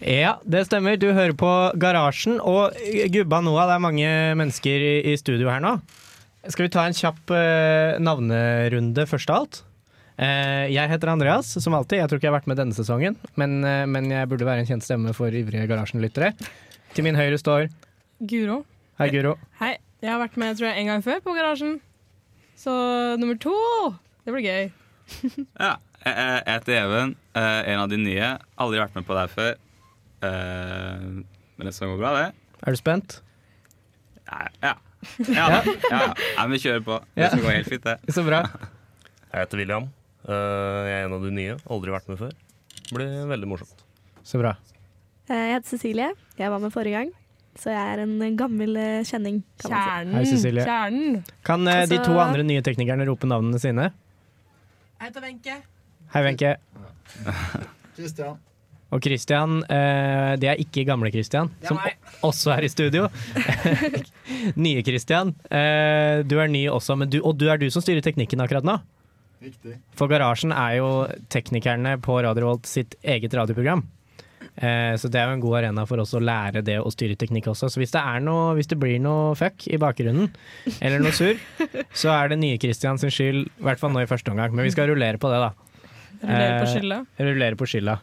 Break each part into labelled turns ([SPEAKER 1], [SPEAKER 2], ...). [SPEAKER 1] Ja, det stemmer. Du hører på Garasjen. Og eh, gubba Noah, det er mange mennesker i, i studio her nå. Skal vi ta en kjapp eh, navnerunde først av alt? Eh, jeg heter Andreas, som alltid. Jeg tror ikke jeg har vært med denne sesongen, men, eh, men jeg burde være en kjent stemme for ivrige Garasjen-lyttere. Til min høyre står
[SPEAKER 2] Guro.
[SPEAKER 1] Hei, Guro.
[SPEAKER 2] Hei. Jeg har vært med tror jeg, en gang før på Garasjen. Så nummer to Det blir gøy.
[SPEAKER 3] Ja. Jeg jeg heter Even, eh, en av de nye. Aldri vært med på det her før. Eh, Men det skal gå bra, det.
[SPEAKER 1] Er du spent?
[SPEAKER 3] Ja. Ja, ja, ja. ja. Nei, men vi kjører på.
[SPEAKER 1] Ja.
[SPEAKER 3] Det skal gå helt fint, det.
[SPEAKER 1] Så bra.
[SPEAKER 4] Jeg heter William. Eh, Jeg er en av de nye. Aldri vært med før. Det blir veldig morsomt.
[SPEAKER 1] Så bra.
[SPEAKER 5] Eh, Jeg heter Cecilie. Jeg var med forrige gang, så jeg er en gammel eh, kjenning. Kan man si.
[SPEAKER 2] Kjernen.
[SPEAKER 1] Hei, Cecilie.
[SPEAKER 2] Kjernen.
[SPEAKER 1] Kan eh, de
[SPEAKER 5] Altså-
[SPEAKER 1] to andre nye teknikerne rope navnene sine?
[SPEAKER 6] Jeg heter Wenche.
[SPEAKER 1] Hei, Wenche.
[SPEAKER 7] Kristian.
[SPEAKER 1] Og Christian, eh, det er ikke gamle Christian,
[SPEAKER 6] Det er
[SPEAKER 1] som
[SPEAKER 6] meg.
[SPEAKER 1] o- også er i studio. Nye Christian, eh, du er ny også, men du, og du er du som styrer teknikken akkurat nå.
[SPEAKER 7] Riktig.
[SPEAKER 1] For Garasjen er jo teknikerne på Radio Volt sitt eget radioprogram. Eh, så det er jo en god arena for oss å lære det å styre teknikk også. Så hvis det, er noe, hvis det blir noe fuck i bakgrunnen, eller noe surr, så er det nye Christian sin skyld, i hvert fall nå i første omgang. Men vi skal rullere på det, da.
[SPEAKER 2] Rullerer på
[SPEAKER 1] Eh,
[SPEAKER 2] skylda.
[SPEAKER 1] Rullere på skylda.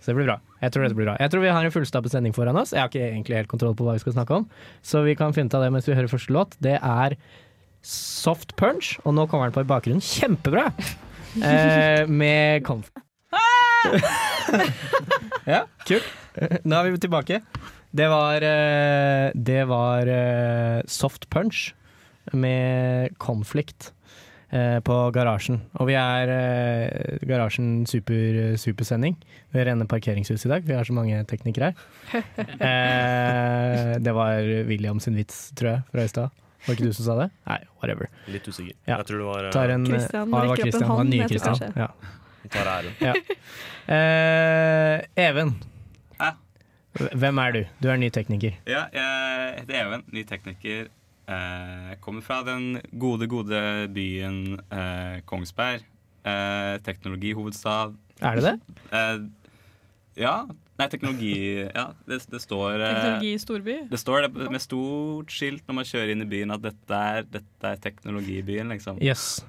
[SPEAKER 1] Så det blir bra. Jeg tror dette blir bra. Jeg tror vi har en fullstappet sending foran oss. Jeg har ikke egentlig helt kontroll på hva vi skal snakke om, så vi kan finne ut av det mens vi hører første låt. Det er Soft Punch, og nå kommer den på i bakgrunnen. Kjempebra! Eh, med Comf... ja, kult. Nå er vi tilbake. Det var eh, Det var eh, Soft Punch med Conflict eh, på Garasjen. Og vi er eh, Garasjen super, supersending. Vi er inne i parkeringshus i dag, vi har så mange teknikere her. Eh, det var William sin vits, tror jeg, fra i stad. Var det ikke du som sa det? Nei, whatever.
[SPEAKER 4] Litt usikker.
[SPEAKER 1] Ja.
[SPEAKER 4] Jeg tror det var eh,
[SPEAKER 1] Tar en,
[SPEAKER 5] Christian
[SPEAKER 1] Ah, det var
[SPEAKER 5] rekker opp en
[SPEAKER 1] Christian, det var
[SPEAKER 5] hånd,
[SPEAKER 1] nye
[SPEAKER 5] jeg tror
[SPEAKER 1] Christian. Ja.
[SPEAKER 4] tar æren.
[SPEAKER 1] Eh, Even.
[SPEAKER 3] Hæ?
[SPEAKER 1] Hvem er du? Du er ny tekniker.
[SPEAKER 3] Ja, jeg heter Even, ny tekniker. Eh, Jeg kommer fra den gode, gode byen eh, Kongsberg. Eh, Teknologihovedstad.
[SPEAKER 1] Er det det?
[SPEAKER 3] Eh, Ja. Nei, teknologi Ja, det, det står eh,
[SPEAKER 2] Teknologi i storby.
[SPEAKER 3] Det står det med stort skilt når man kjører inn i byen at dette er, dette er teknologibyen, liksom.
[SPEAKER 1] Yes.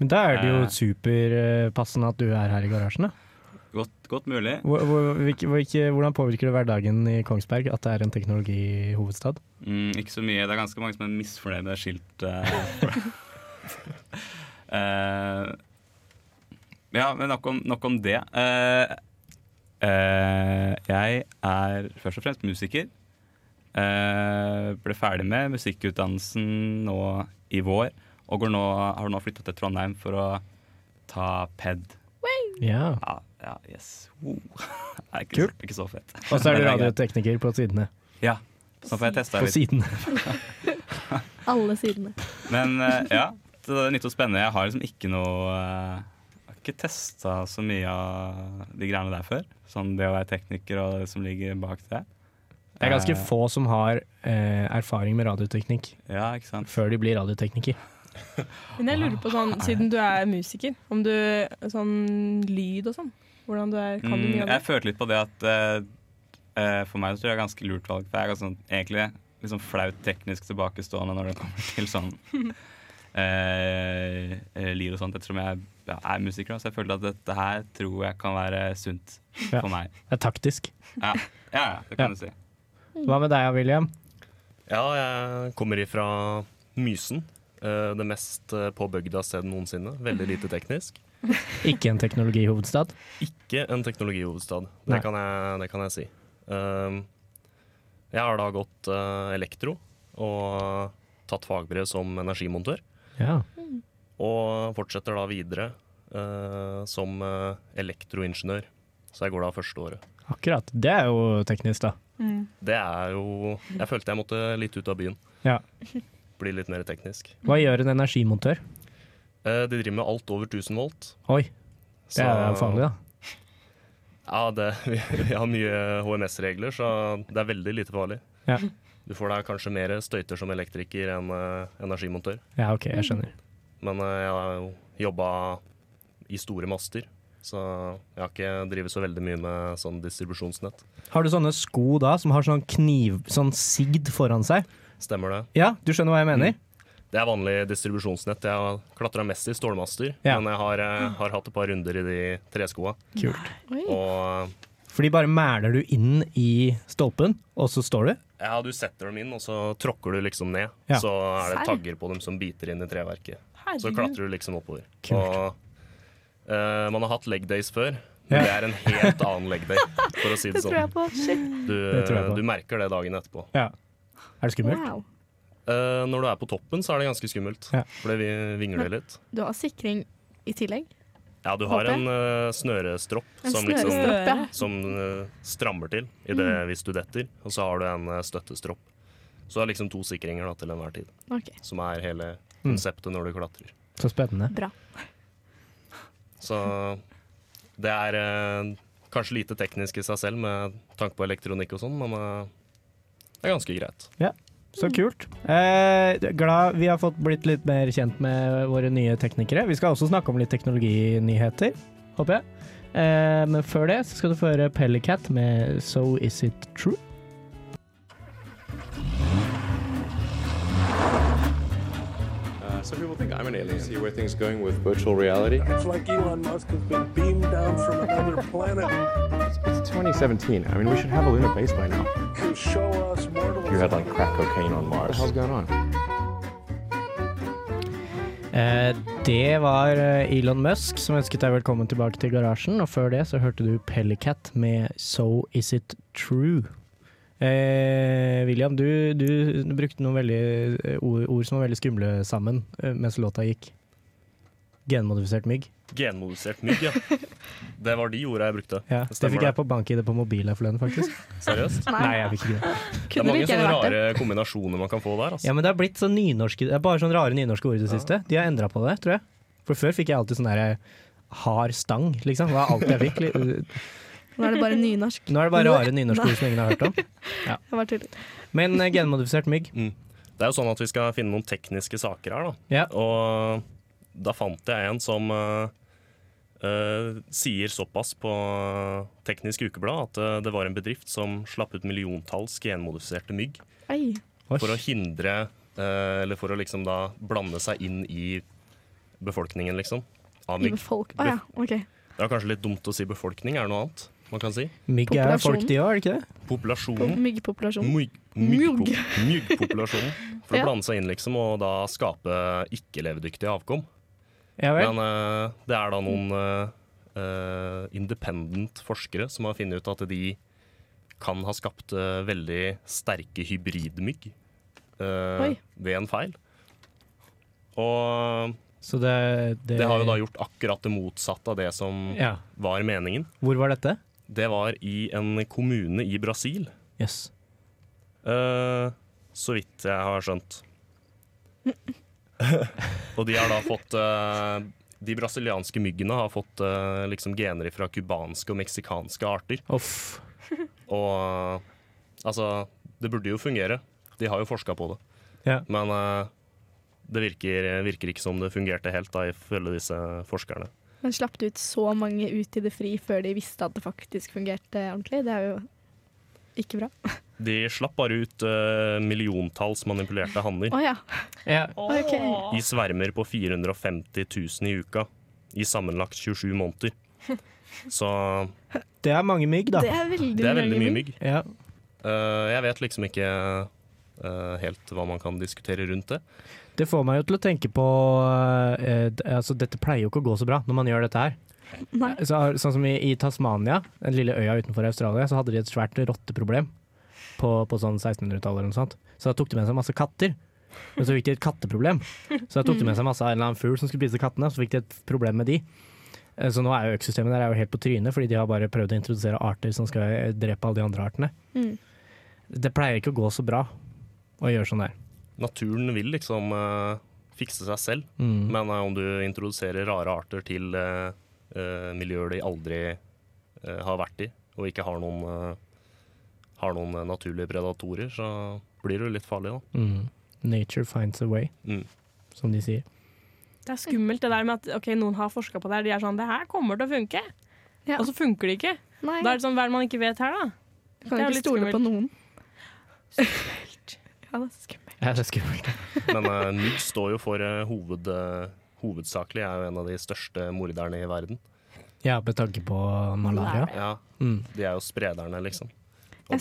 [SPEAKER 1] Men da er det jo
[SPEAKER 3] Eh.
[SPEAKER 1] superpassende at du er her i garasjen. da.
[SPEAKER 3] Godt, godt mulig.
[SPEAKER 1] Hvor, hvor, hvilke, hvilke, hvordan påvirker det hverdagen i Kongsberg at det er en teknologihovedstad?
[SPEAKER 3] Mm, ikke så mye. Det er ganske mange som er misfornøyd med det skiltet. eh. Eh, ja, men nok om, nok om det. Eh, eh, jeg er først og fremst musiker. Eh, ble ferdig med musikkutdannelsen nå i vår, og går nå, har nå flytta til Trondheim for å ta ped.
[SPEAKER 1] Ja.
[SPEAKER 3] Ja, ja yes. Wow. Det er ikke,
[SPEAKER 1] Kult.
[SPEAKER 3] ikke så fett.
[SPEAKER 1] Og så er du
[SPEAKER 3] Men det er greit.
[SPEAKER 1] radiotekniker på sidene.
[SPEAKER 3] Ja, så får jeg testa
[SPEAKER 1] På
[SPEAKER 3] litt.
[SPEAKER 1] sidene.
[SPEAKER 5] Alle sidene.
[SPEAKER 3] Men eh, ja, så det er nytt og spennende. Jeg har liksom ikke noe eh, Jeg har ikke testa så mye av de greiene der før. Sånn det å være tekniker og det som ligger bak det.
[SPEAKER 1] Det er ganske
[SPEAKER 3] Eh,
[SPEAKER 1] få som har eh, erfaring med radioteknikk
[SPEAKER 3] Ja, ikke sant.
[SPEAKER 1] før de blir radiotekniker.
[SPEAKER 2] Men jeg lurer på, sånn, siden du er musiker, om du Sånn lyd og sånn. Hvordan du er Kan du
[SPEAKER 3] Mm,
[SPEAKER 2] mye av
[SPEAKER 3] jeg
[SPEAKER 2] det?
[SPEAKER 3] følte litt på det at eh, eh, for meg så tror jeg det er ganske lurt valg. For jeg er ganske sånn, egentlig litt sånn flaut teknisk tilbakestående når det kommer til sånn eh, eh, lyd og sånt, ettersom jeg ja, er musiker. da, Så jeg følte at dette her tror jeg kan være sunt
[SPEAKER 1] Ja.
[SPEAKER 3] for meg.
[SPEAKER 1] Det er taktisk.
[SPEAKER 3] Ja, ja, ja det
[SPEAKER 1] Ja.
[SPEAKER 3] kan du si.
[SPEAKER 1] Hva med deg, William?
[SPEAKER 4] Ja, jeg kommer ifra Mysen. Eh, Det mest eh, påbygda stedet noensinne. Veldig lite teknisk.
[SPEAKER 1] Ikke en teknologihovedstad.
[SPEAKER 4] Ikke en teknologihovedstad.
[SPEAKER 1] Nei.
[SPEAKER 4] Det, kan jeg- det kan jeg si. Um, Jeg har da gått eh, elektro og tatt fagbrev som energimontør.
[SPEAKER 1] Ja.
[SPEAKER 4] Og fortsetter da videre eh, som eh, elektroingeniør. Så jeg går da første året.
[SPEAKER 1] Akkurat. Det er jo teknisk, da.
[SPEAKER 2] Mm.
[SPEAKER 4] Det er jo Jeg følte jeg måtte litt ut av byen.
[SPEAKER 1] Ja.
[SPEAKER 4] Bli litt mer teknisk.
[SPEAKER 1] Hva gjør en energimontør?
[SPEAKER 4] Eh, De driver med alt over 1000 volt.
[SPEAKER 1] Oi,
[SPEAKER 4] så-
[SPEAKER 1] det er jo farlig, da.
[SPEAKER 4] Ja, det, vi, vi har mye HMS-regler, så det er veldig lite farlig.
[SPEAKER 1] Ja.
[SPEAKER 4] Du får da kanskje mer støyter som elektriker enn eh, energimontør.
[SPEAKER 1] Ja, OK, jeg skjønner.
[SPEAKER 4] Men eh, jeg har jo jobba i store master, så jeg har ikke drevet så veldig mye med sånn distribusjonsnett.
[SPEAKER 1] Mm. Har du sånne sko da, som har sånn kniv, sånn sigd foran seg?
[SPEAKER 4] Stemmer det?
[SPEAKER 1] Ja, du skjønner hva jeg mener?
[SPEAKER 4] Det er vanlig distribusjonsnett. Jeg har klatra mest i stålmaster,
[SPEAKER 1] Ja.
[SPEAKER 4] men jeg har, eh, har hatt et par runder i de treskoa.
[SPEAKER 1] Mm, Kult.
[SPEAKER 5] Oi.
[SPEAKER 4] Og eh,
[SPEAKER 1] For de bare mæler du inn i stolpen, og så står du?
[SPEAKER 4] ja, du setter dem inn, og så tråkker du liksom ned.
[SPEAKER 1] Ja.
[SPEAKER 4] Så er det
[SPEAKER 5] Serr?
[SPEAKER 4] tagger på dem som biter inn i treverket. Så
[SPEAKER 2] Herregud.
[SPEAKER 4] klatrer du liksom oppover.
[SPEAKER 1] Kult.
[SPEAKER 4] Og eh, man har hatt leg days før, men
[SPEAKER 1] Ja.
[SPEAKER 4] det er en helt annen leg day, for å si
[SPEAKER 5] Det
[SPEAKER 4] det
[SPEAKER 5] tror
[SPEAKER 4] sånn.
[SPEAKER 5] jeg på. Shit.
[SPEAKER 4] Du,
[SPEAKER 1] Det tror jeg på.
[SPEAKER 4] du merker det dagen etterpå.
[SPEAKER 1] Ja. Er det skummelt?
[SPEAKER 5] Wow.
[SPEAKER 4] Eh, når du er på toppen, så er det ganske skummelt.
[SPEAKER 1] Ja.
[SPEAKER 4] Fordi vi vingler litt.
[SPEAKER 5] Du har sikring i tillegg.
[SPEAKER 4] Ja, du har
[SPEAKER 5] Håper jeg.
[SPEAKER 4] en eh, snørestropp
[SPEAKER 5] En
[SPEAKER 4] som, liksom,
[SPEAKER 5] snørestropp, ja.
[SPEAKER 4] som eh, strammer til i det,
[SPEAKER 5] Mm.
[SPEAKER 4] hvis du detter. Og så har du en eh, støttestropp. Så du har liksom to sikringer da, til enhver tid,
[SPEAKER 5] Ok,
[SPEAKER 4] som er hele
[SPEAKER 1] Mm.
[SPEAKER 4] konseptet når du klatrer.
[SPEAKER 1] Så spennende.
[SPEAKER 5] bra.
[SPEAKER 4] Så det er eh, kanskje lite teknisk i seg selv med tanke på elektronikk og sånn, men eh, det er ganske greit.
[SPEAKER 1] Så kult. Eh, glad vi har fått blitt litt mer kjent med våre nye teknikere. Vi skal også snakke om litt teknologinyheter, håper jeg. Eh, men før det så skal du få høre Pellycat med 'So Is It True'.
[SPEAKER 8] some people think I'm an alien. See where things going with virtual reality.
[SPEAKER 9] It's like Elon Musk has been beamed down from another planet
[SPEAKER 8] It's, it's 2017. I mean, we should have a lunar base by now.
[SPEAKER 9] to show us mortals.
[SPEAKER 8] You had like crack cocaine on Mars. What the hell's going on?
[SPEAKER 1] Eh, det var eh, Elon Musk som ønsket deg velkommen tilbake til garasjen, og før det så hørte du Pellycat med 'So Is It True'. Eh, William, du, du brukte noen veldig eh, ord, ord som var veldig skumle sammen eh, mens låta gikk. Genmodifisert mygg.
[SPEAKER 4] Genmodifisert mygg, ja. Det var de orda jeg brukte.
[SPEAKER 1] Ja,
[SPEAKER 4] Det
[SPEAKER 1] det
[SPEAKER 4] stemmer
[SPEAKER 1] fikk jeg på bank-ID på mobil her forleden, faktisk.
[SPEAKER 4] Seriøst?
[SPEAKER 1] Nei, jeg fikk ikke det.
[SPEAKER 4] Det er
[SPEAKER 5] Kunne det
[SPEAKER 4] mange
[SPEAKER 5] ikke
[SPEAKER 4] sånne
[SPEAKER 5] vært det?
[SPEAKER 4] rare kombinasjoner man kan få der. Altså.
[SPEAKER 1] Ja, men det er blitt sånn nynorske Det er bare sånn rare nynorske ord i det
[SPEAKER 4] Ja.
[SPEAKER 1] siste. De har endra på det, tror jeg. For før fikk jeg alltid sånn derre hard stang, liksom. Det var alt jeg fikk. li-
[SPEAKER 5] Nå er det bare nynorsk.
[SPEAKER 1] Nå er det bare rare nynorske ord som ingen har hørt om.
[SPEAKER 5] Jeg bare tuller.
[SPEAKER 1] Men eh, genmodifisert mygg.
[SPEAKER 4] Det er jo sånn at vi skal finne noen tekniske saker her, da.
[SPEAKER 1] Ja.
[SPEAKER 4] Og da fant jeg en som eh, eh, sier såpass på eh, Teknisk Ukeblad at eh, det var en bedrift som slapp ut milliontalls genmodifiserte mygg
[SPEAKER 5] Oi.
[SPEAKER 1] Oi.
[SPEAKER 4] for å hindre eh, Eller for å liksom da blande seg inn i befolkningen, liksom. Av
[SPEAKER 5] I
[SPEAKER 4] mygg.
[SPEAKER 5] befolk... Å ja, OK.
[SPEAKER 4] Det er kanskje litt dumt å si befolkning, er det noe annet man kan si?
[SPEAKER 1] Mygg er jo
[SPEAKER 5] populasjonen.
[SPEAKER 1] folk, de òg, er det ikke det?
[SPEAKER 4] Populasjonen.
[SPEAKER 5] Myggpopulasjon.
[SPEAKER 4] Mygg-
[SPEAKER 5] Mygg.
[SPEAKER 4] myggpo- Myggpopulasjonen. For å
[SPEAKER 5] Ja.
[SPEAKER 4] blande seg inn liksom, og da skape ikke-levedyktige avkom.
[SPEAKER 1] Ja vel.
[SPEAKER 4] Men eh, det er da noen eh, eh, independent forskere som har funnet ut at de kan ha skapt eh, veldig sterke hybridmygg eh,
[SPEAKER 5] Oi.
[SPEAKER 4] ved en feil. Og
[SPEAKER 1] Så det, det
[SPEAKER 4] det har jo da gjort akkurat det motsatte av det som
[SPEAKER 1] Ja.
[SPEAKER 4] var meningen.
[SPEAKER 1] Hvor var dette?
[SPEAKER 4] Det var i en kommune i Brasil.
[SPEAKER 1] Jøss. Yes.
[SPEAKER 4] Eh, så vidt jeg har skjønt. og de har da fått eh, De brasilianske myggene har fått eh, liksom gener fra cubanske og meksikanske arter.
[SPEAKER 1] Uff.
[SPEAKER 4] Og eh, altså Det burde jo fungere. De har jo forska på det.
[SPEAKER 1] Ja.
[SPEAKER 4] Men eh, det virker, virker ikke som det fungerte helt, da, ifølge disse forskerne.
[SPEAKER 5] Men slapp du ut så mange ut i det fri før de visste at det faktisk fungerte ordentlig? Det er jo ikke bra.
[SPEAKER 4] De slapp bare ut eh, milliontalls manipulerte hanner
[SPEAKER 5] Å ja.
[SPEAKER 1] Ja.
[SPEAKER 5] OK.
[SPEAKER 4] i svermer på 450 000 i uka i sammenlagt 27 måneder. Så
[SPEAKER 1] Det er mange mygg, da.
[SPEAKER 5] Det er veldig,
[SPEAKER 4] det er veldig mye mygg.
[SPEAKER 1] Ja.
[SPEAKER 4] Eh, jeg vet liksom ikke eh, helt hva man kan diskutere rundt det.
[SPEAKER 1] Det får meg jo til å tenke på eh, d- Altså, dette pleier jo ikke å gå så bra når man gjør dette her.
[SPEAKER 5] Nei.
[SPEAKER 1] Så, har- sånn som i, i Tasmania, den lille øya utenfor Australia, så hadde de et svært rotteproblem på, på sånn 1600-tallet eller noe sånt. Så da tok de med seg masse katter. Men så fikk de et katteproblem. Så da tok de med seg masse av en eller annen fugl som skulle spise kattene, så fikk de et problem med de. Eh, Så nå er jo økosystemet der er jo helt på trynet, fordi de har bare prøvd å introdusere arter som skal eh, drepe alle de andre artene.
[SPEAKER 5] Mm.
[SPEAKER 1] Det pleier ikke å gå så bra å gjøre sånn der.
[SPEAKER 4] Naturen vil liksom eh, fikse seg selv,
[SPEAKER 1] Mm.
[SPEAKER 4] men eh, om du introduserer rare arter til eh, eh, miljøer de aldri eh, har vært i, og ikke har noen, eh, har noen eh, naturlige predatorer, så blir det jo litt farlig, da.
[SPEAKER 1] Mm. Nature finds a way,
[SPEAKER 4] Mm.
[SPEAKER 1] som de sier.
[SPEAKER 2] Det er skummelt det der med at ok, noen har forska på det her. De er sånn Det her kommer til å funke.
[SPEAKER 5] Ja.
[SPEAKER 2] Og så funker det ikke.
[SPEAKER 5] Nei,
[SPEAKER 2] Da er det sånn Hva er det man ikke vet her, da?
[SPEAKER 5] du
[SPEAKER 2] det
[SPEAKER 5] kan
[SPEAKER 2] er jo
[SPEAKER 5] ikke
[SPEAKER 2] litt
[SPEAKER 5] stole på
[SPEAKER 2] skummelt.
[SPEAKER 5] noen. ja, det er skummelt.
[SPEAKER 1] Ja, det er skummelt.
[SPEAKER 4] Men eh, mygg står jo for eh, hoved, eh, hovedsakelig er jo en av de største morderne i verden.
[SPEAKER 1] Ja, med tanke på malaria.
[SPEAKER 4] Ja,
[SPEAKER 1] Mm.
[SPEAKER 4] De er jo sprederne, liksom. Og
[SPEAKER 5] Jeg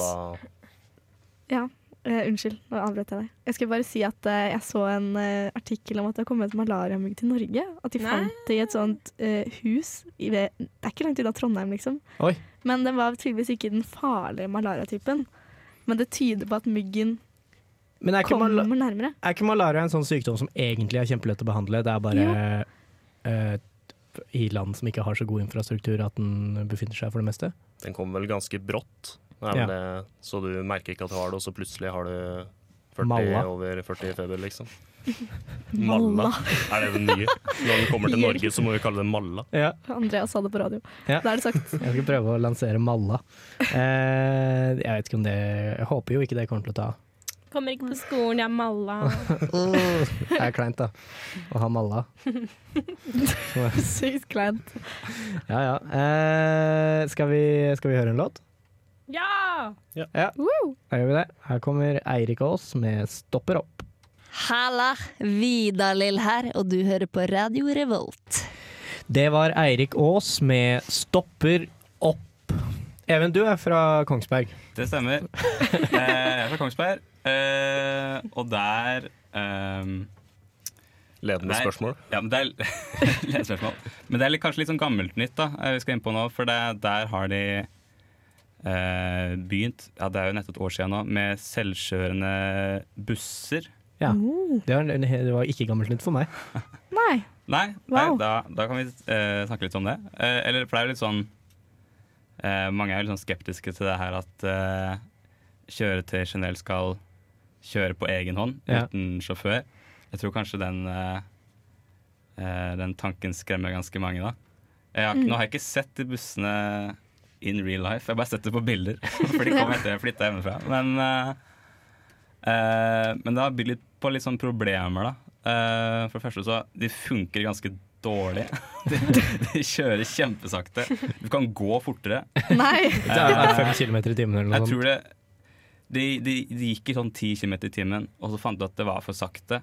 [SPEAKER 4] da
[SPEAKER 5] Eh, unnskyld, nå avbrøt jeg deg. Jeg skulle bare si at eh, jeg så en eh, artikkel om at det har kommet malariamugg til Norge. At de
[SPEAKER 2] Nei.
[SPEAKER 5] fant det i et sånt eh, hus i, ved, Det er ikke langt unna Trondheim, liksom.
[SPEAKER 1] Oi.
[SPEAKER 5] Men den var tydeligvis ikke den farlige malariatypen. Men det tyder på at myggen
[SPEAKER 1] Men er ikke,
[SPEAKER 5] kommer
[SPEAKER 1] mala-
[SPEAKER 5] nærmere.
[SPEAKER 1] er ikke malaria en sånn sykdom som egentlig er kjempelett å behandle? Det er bare eh, i land som ikke har så god infrastruktur at den befinner seg for det meste?
[SPEAKER 4] Den kommer vel ganske brått. Nei,
[SPEAKER 1] Ja.
[SPEAKER 4] men det, så du merker ikke at du har det, og så plutselig har du 40
[SPEAKER 1] Malla.
[SPEAKER 4] over 40 i feber, liksom.
[SPEAKER 5] Malla.
[SPEAKER 4] Er det den nye? Når den kommer til
[SPEAKER 5] Hjelp.
[SPEAKER 4] Norge, så må vi kalle det malla.
[SPEAKER 1] Ja.
[SPEAKER 5] Andreas sa det på radio.
[SPEAKER 1] Ja.
[SPEAKER 5] Da er det sagt.
[SPEAKER 1] Jeg skal prøve å lansere Malla. Eh, jeg vet ikke om det Jeg håper jo ikke det kommer til å ta av.
[SPEAKER 2] Kommer ikke på skolen, jeg er malla.
[SPEAKER 1] Det er kleint, da. Å ha Malla.
[SPEAKER 5] Sykt kleint.
[SPEAKER 1] Ja ja. Eh, skal, vi, skal vi høre en låt?
[SPEAKER 2] Ja!
[SPEAKER 1] Da gjør vi det. Her kommer Eirik Aas med 'Stopper opp'.
[SPEAKER 10] Halla, Vidar-Lill her, og du hører på Radio Revolt.
[SPEAKER 1] Det var Eirik Aas med 'Stopper opp'. Even, du er fra Kongsberg.
[SPEAKER 3] Det stemmer. Eh, jeg er fra Kongsberg, eh, og der ehm,
[SPEAKER 4] Ledende
[SPEAKER 3] Nei.
[SPEAKER 4] spørsmål.
[SPEAKER 3] Ja, men det er, Lett spørsmål. Men det er litt, kanskje litt sånn gammelt nytt da, eh, vi skal inn på nå, for det, der har de eh, begynt, ja det er jo nettopp et år siden nå, med selvkjørende busser.
[SPEAKER 1] Ja.
[SPEAKER 5] Mm.
[SPEAKER 1] Det var, det var ikke gammelt nytt for meg.
[SPEAKER 5] Nei.
[SPEAKER 3] Nei,
[SPEAKER 5] Wow.
[SPEAKER 3] nei da, da kan vi eh, snakke litt om det. Eh, eller, for det er jo litt sånn eh, Mange er jo litt sånn skeptiske til det her at uh, kjøretøy generelt skal kjøre på egen hånd
[SPEAKER 1] Ja.
[SPEAKER 3] uten sjåfør. Jeg tror kanskje den eh, eh, Den tanken skremmer ganske mange, da. Jeg har, Nå har jeg ikke sett de bussene in real life, jeg har bare sett det på bilder. For de kom etter jeg flytta hjemmefra. Men, eh, eh, men det har bydd litt på litt sånn problemer, da. Eh, for det første så de funker ganske dårlig. De, de kjører kjempesakte. Du kan gå fortere.
[SPEAKER 5] Nei.
[SPEAKER 1] Det er fem kilometer i timen eller
[SPEAKER 3] Jeg
[SPEAKER 1] noe sånt.
[SPEAKER 3] tror det de, de, de gikk i sånn 10 km i timen, og så fant de at det var for sakte.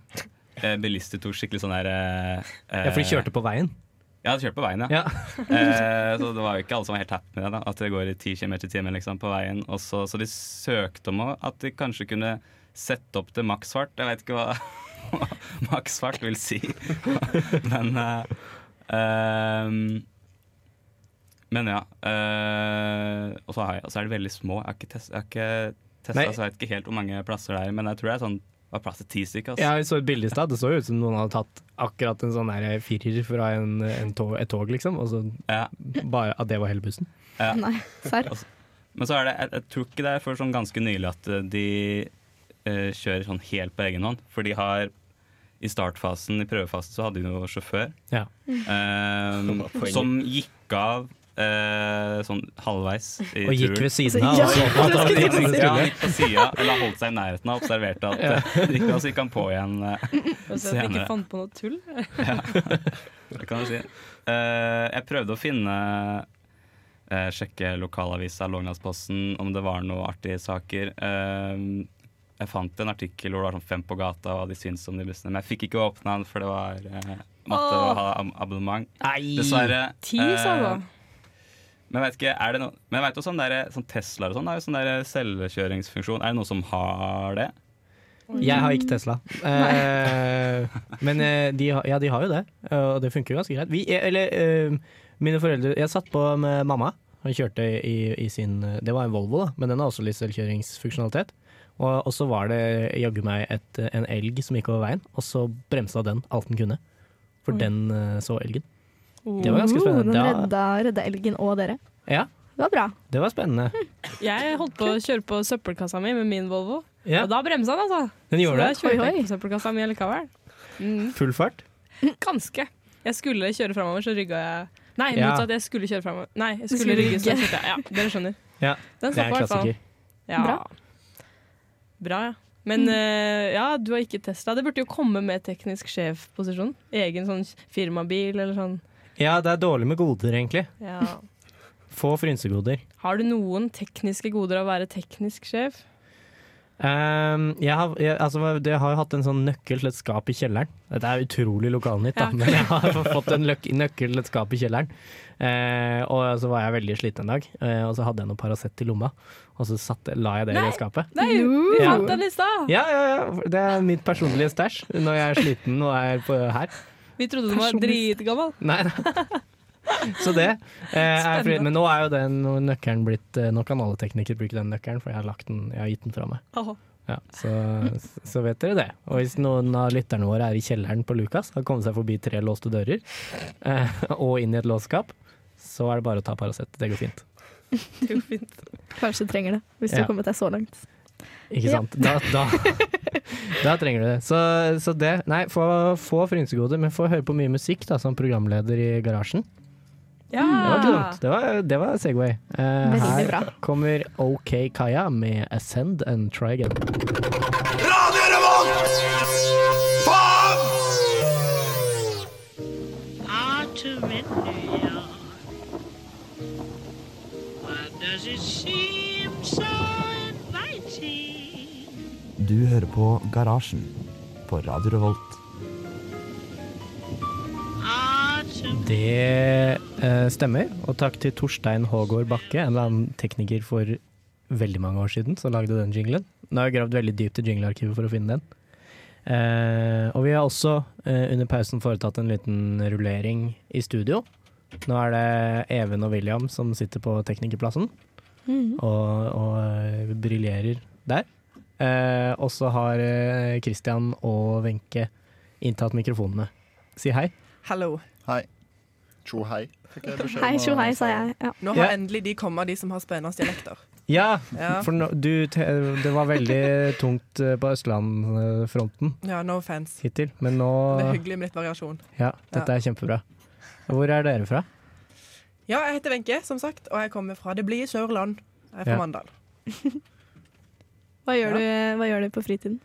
[SPEAKER 3] Eh, bilister tok skikkelig sånn der eh,
[SPEAKER 1] Ja, for de kjørte på veien.
[SPEAKER 3] Ja, de kjørte på veien, ja.
[SPEAKER 1] Ja.
[SPEAKER 3] Eh, så det var jo ikke alle som var helt happy med det, da, at det går i 10 km i timen liksom, på veien. Og så, så de søkte om at de kanskje kunne sette opp til maksfart. Jeg vet ikke hva, hva maksfart vil si. Men eh, ehm, Men ja. eh, og så har jeg- og så er de veldig små. Jeg har ikke test- jeg har ikke testa,
[SPEAKER 1] Nei.
[SPEAKER 3] så jeg vet ikke helt hvor mange plasser det er, men jeg tror det er sånn det var plass til ti stykker. ass.
[SPEAKER 1] Jeg så et bilde i stad. Det så jo ut som noen hadde tatt akkurat en sånn der firer fra en, en tog, et tog, liksom. Og så
[SPEAKER 3] Ja.
[SPEAKER 1] bare at det var hele bussen.
[SPEAKER 5] Nei. Serr.
[SPEAKER 3] Men så er det, jeg, jeg tror ikke det er før sånn ganske nylig at eh, de eh, kjører sånn helt på egen hånd. For de har i startfasen, i prøvefasen, så hadde de jo sjåfør.
[SPEAKER 1] Ja.
[SPEAKER 3] eh,
[SPEAKER 4] poenget.
[SPEAKER 3] som gikk av eh, sånn halvveis i
[SPEAKER 1] Og gikk ved
[SPEAKER 3] turen.
[SPEAKER 1] siden av.
[SPEAKER 5] Ja,
[SPEAKER 1] og så-
[SPEAKER 5] det skulle jeg til å si.
[SPEAKER 3] Ja, han gikk på sida, eller holdt seg i nærheten av, observerte at eh, det gikk av, så gikk han på igjen.
[SPEAKER 2] Og
[SPEAKER 3] eh,
[SPEAKER 2] så Altså, at jeg
[SPEAKER 3] Senere.
[SPEAKER 2] ikke fant på noe tull.
[SPEAKER 3] Det kan du si. Eh, jeg prøvde å finne eh, Sjekke lokalavisa Låglandsposten om det var noe artige saker. Eh, jeg fant en artikkel hvor det var sånn fem på gata og hva de syntes om de bussene. Men jeg fikk ikke åpna den, for det var eh, måtte
[SPEAKER 2] Åh.
[SPEAKER 3] ha ab- abonnement.
[SPEAKER 1] Nei.
[SPEAKER 3] Dessverre.
[SPEAKER 2] Ti, sa
[SPEAKER 3] Eh,
[SPEAKER 2] han.
[SPEAKER 3] men jeg vet ikke, er det noe Men jeg vet også sånn der- sånn Tesla og sånn har jo sånn der selvkjøringsfunksjon. Er det noen som har det?
[SPEAKER 1] Jeg har ikke Tesla. Eh, men eh, de, har- ja, de har jo det, eh, og det funker jo ganske greit. Vi, eller, eh, mine foreldre Jeg satt på med mamma. Hun kjørte i, i sin Det var en Volvo, da, men den har også litt selvkjøringsfunksjonalitet. Og, og så var det jaggu meg et, en elg som gikk over veien, og så bremsa den alt den kunne. For
[SPEAKER 2] Oi.
[SPEAKER 1] den eh, så elgen.
[SPEAKER 2] Oh.
[SPEAKER 1] Det var ganske spennende.
[SPEAKER 5] Oh, Den
[SPEAKER 1] Ja.
[SPEAKER 5] redda, redda elgen og dere.
[SPEAKER 1] Ja,
[SPEAKER 5] Det var bra.
[SPEAKER 1] Det var spennende.
[SPEAKER 2] Jeg holdt på å kjøre på søppelkassa mi med min Volvo,
[SPEAKER 1] Ja.
[SPEAKER 2] og da bremsa den, altså.
[SPEAKER 1] Den gjorde
[SPEAKER 2] Så da
[SPEAKER 1] det.
[SPEAKER 2] kjørte jeg ikke på søppelkassa mi likevel. Mm.
[SPEAKER 1] Full fart.
[SPEAKER 2] Ganske. Jeg skulle kjøre framover, så rygga jeg Nei,
[SPEAKER 1] Ja.
[SPEAKER 2] motsatt. Jeg skulle kjøre framover. Nei, jeg
[SPEAKER 5] Du
[SPEAKER 2] skulle
[SPEAKER 5] skulle
[SPEAKER 2] rygge. Så
[SPEAKER 5] rygge.
[SPEAKER 2] kjørte jeg. Ja, dere skjønner.
[SPEAKER 1] Ja, det er en
[SPEAKER 2] Den slapp i hvert fall.
[SPEAKER 1] klassiker.
[SPEAKER 2] Ja.
[SPEAKER 5] Bra.
[SPEAKER 2] Bra, ja. Men
[SPEAKER 1] Mm.
[SPEAKER 2] eh, ja, du har ikke Tesla. Det burde jo komme med teknisk sjef-posisjon. Egen sånn firmabil eller sånn.
[SPEAKER 1] Ja, det er dårlig med goder, egentlig.
[SPEAKER 2] Ja.
[SPEAKER 1] Få frynsegoder.
[SPEAKER 2] Har du noen tekniske goder av å være teknisk sjef?
[SPEAKER 1] Ehm, jeg, har, jeg, altså, jeg har jo hatt en sånn nøkkel til et skap i kjelleren. Dette er utrolig lokalnytt, da,
[SPEAKER 2] Ja.
[SPEAKER 1] men jeg har fått en løk, nøkkel til et skap i kjelleren. Eh, og så var jeg veldig sliten en dag, eh, og så hadde jeg noe Paracet i lomma. Og så satte, la jeg det i det skapet.
[SPEAKER 2] Nei, vi
[SPEAKER 1] Ja.
[SPEAKER 2] fant den i stad!
[SPEAKER 1] Ja, ja, ja. Det er mitt personlige stæsj når jeg er sliten og er på, her.
[SPEAKER 2] Vi trodde den var dritgammel.
[SPEAKER 1] Nei, nei. Så det. Eh, er fordi,
[SPEAKER 2] Spennende.
[SPEAKER 1] men nå er jo den nøkkelen blitt eh, Nå kan alle teknikere bruke den nøkkelen, for jeg har, lagt den, jeg har gitt den fra meg.
[SPEAKER 2] Åh.
[SPEAKER 1] Ja, så, så vet dere det. Og hvis noen av lytterne våre er i kjelleren på Lukas, har kommet seg forbi tre låste dører eh, og inn i et låsskap, så er det bare å ta Paracet. Det går fint.
[SPEAKER 2] Det går fint.
[SPEAKER 5] Kanskje du trenger det, hvis
[SPEAKER 1] Ja.
[SPEAKER 5] du har kommet deg så langt.
[SPEAKER 1] Ikke
[SPEAKER 5] Ja.
[SPEAKER 1] sant? Da, da, da trenger du det. Så, så det Nei, få, få frynsegoder, men få høre på mye musikk da, som programleder i garasjen.
[SPEAKER 2] Ja.
[SPEAKER 1] Mm, Det var ikke dumt. Det var, det var Segway. Eh,
[SPEAKER 5] Ah.
[SPEAKER 1] her
[SPEAKER 5] Veldig bra.
[SPEAKER 1] kommer OK Kaya med 'Ascend and Try Again'.
[SPEAKER 11] Du hører på Garasjen på Radio Revolt.
[SPEAKER 1] Det eh, stemmer. Og takk til Torstein Hågård Bakke, en eller annen tekniker for veldig mange år siden, som lagde den jinglen. Nå har jeg gravd veldig dypt i jinglearkivet for å finne den. Eh, og vi har også eh, under pausen foretatt en liten rullering i studio. Nå er det Even og William som sitter på teknikerplassen
[SPEAKER 5] Mhm.
[SPEAKER 1] og, og eh, briljerer der. Eh, og så har eh, Christian og Wenche inntatt mikrofonene. Si hei.
[SPEAKER 6] Hallo.
[SPEAKER 7] Hei. Tjo hei, fikk jeg beskjed om.
[SPEAKER 5] Hei, tjo hei, sa jeg. Ja.
[SPEAKER 6] Nå har
[SPEAKER 1] Ja.
[SPEAKER 6] endelig de kommet, de som har spennende dialekter.
[SPEAKER 1] Ja,
[SPEAKER 6] Ja.
[SPEAKER 1] for nå- du, te- det var veldig tungt eh, på Østlandfronten
[SPEAKER 6] Ja, no offense.
[SPEAKER 1] hittil, men nå
[SPEAKER 6] Det er hyggelig med litt variasjon.
[SPEAKER 1] Ja, dette er kjempebra. Hvor er dere fra?
[SPEAKER 6] Ja, jeg heter Wenche, som sagt, og jeg kommer fra det blide Sørland. Jeg er
[SPEAKER 1] Ja.
[SPEAKER 6] fra Mandal.
[SPEAKER 5] Hva, gjør
[SPEAKER 6] Ja.
[SPEAKER 5] du, hva gjør du på fritiden?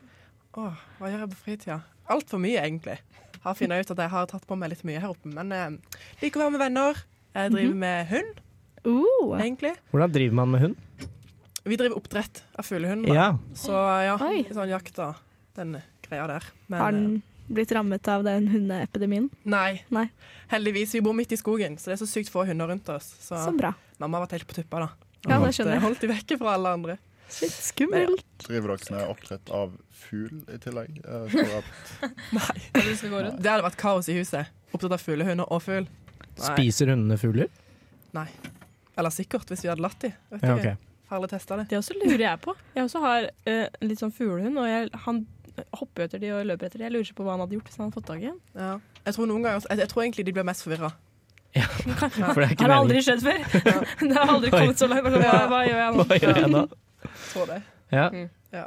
[SPEAKER 6] Åh, hva gjør jeg på fritida? Altfor mye, egentlig. Har funnet ut at jeg har tatt på meg litt mye her oppe, men eh, liker å være med venner. Jeg
[SPEAKER 5] Mhm.
[SPEAKER 6] driver med hund,
[SPEAKER 5] Uh,
[SPEAKER 6] egentlig.
[SPEAKER 1] Hvordan driver man med hund?
[SPEAKER 6] Vi driver oppdrett av fuglehund, da.
[SPEAKER 1] Ja,
[SPEAKER 6] så ja,
[SPEAKER 5] Oi.
[SPEAKER 6] sånn jakt og den greia der. Men,
[SPEAKER 5] har den blitt rammet av den hundeepidemien?
[SPEAKER 6] eh, Nei.
[SPEAKER 5] Nei.
[SPEAKER 6] Heldigvis, vi bor midt i skogen, så det er så sykt få hunder rundt oss. Så
[SPEAKER 5] Så bra.
[SPEAKER 6] mamma har vært helt på tuppa, da.
[SPEAKER 5] Ja,
[SPEAKER 6] Hun
[SPEAKER 5] det skjønner jeg.
[SPEAKER 6] Holdt de vekke fra alle andre.
[SPEAKER 5] Shit, skummelt.
[SPEAKER 7] Driver dere med oppdrett av fugl i tillegg? Eh, for at-
[SPEAKER 6] Det hadde vært kaos i huset. Opptatt av fuglehunder og fugl. Nei.
[SPEAKER 1] Spiser hundene fugler?
[SPEAKER 6] Nei. Eller sikkert, hvis vi hadde latt de. Vet
[SPEAKER 1] Ja,
[SPEAKER 6] ikke.
[SPEAKER 1] ok.
[SPEAKER 6] Har aldri testa det.
[SPEAKER 2] Det også lurer jeg på. Jeg også har eh, litt sånn fuglehund, og jeg, han hopper jo etter de og løper etter de. Jeg lurer ikke på hva han hadde gjort hvis han hadde fått tak i en.
[SPEAKER 6] Ja. Jeg tror noen ganger, jeg, jeg tror egentlig de blir mest forvirra.
[SPEAKER 1] For det er
[SPEAKER 2] Har
[SPEAKER 1] ikke
[SPEAKER 2] det
[SPEAKER 1] meningen.
[SPEAKER 2] aldri skjedd før? det har aldri
[SPEAKER 1] Oi.
[SPEAKER 2] kommet så langt. Hva, hva gjør jeg nå?
[SPEAKER 1] Hva gjør jeg nå?
[SPEAKER 6] Tror det.
[SPEAKER 1] Ja.
[SPEAKER 6] Ja.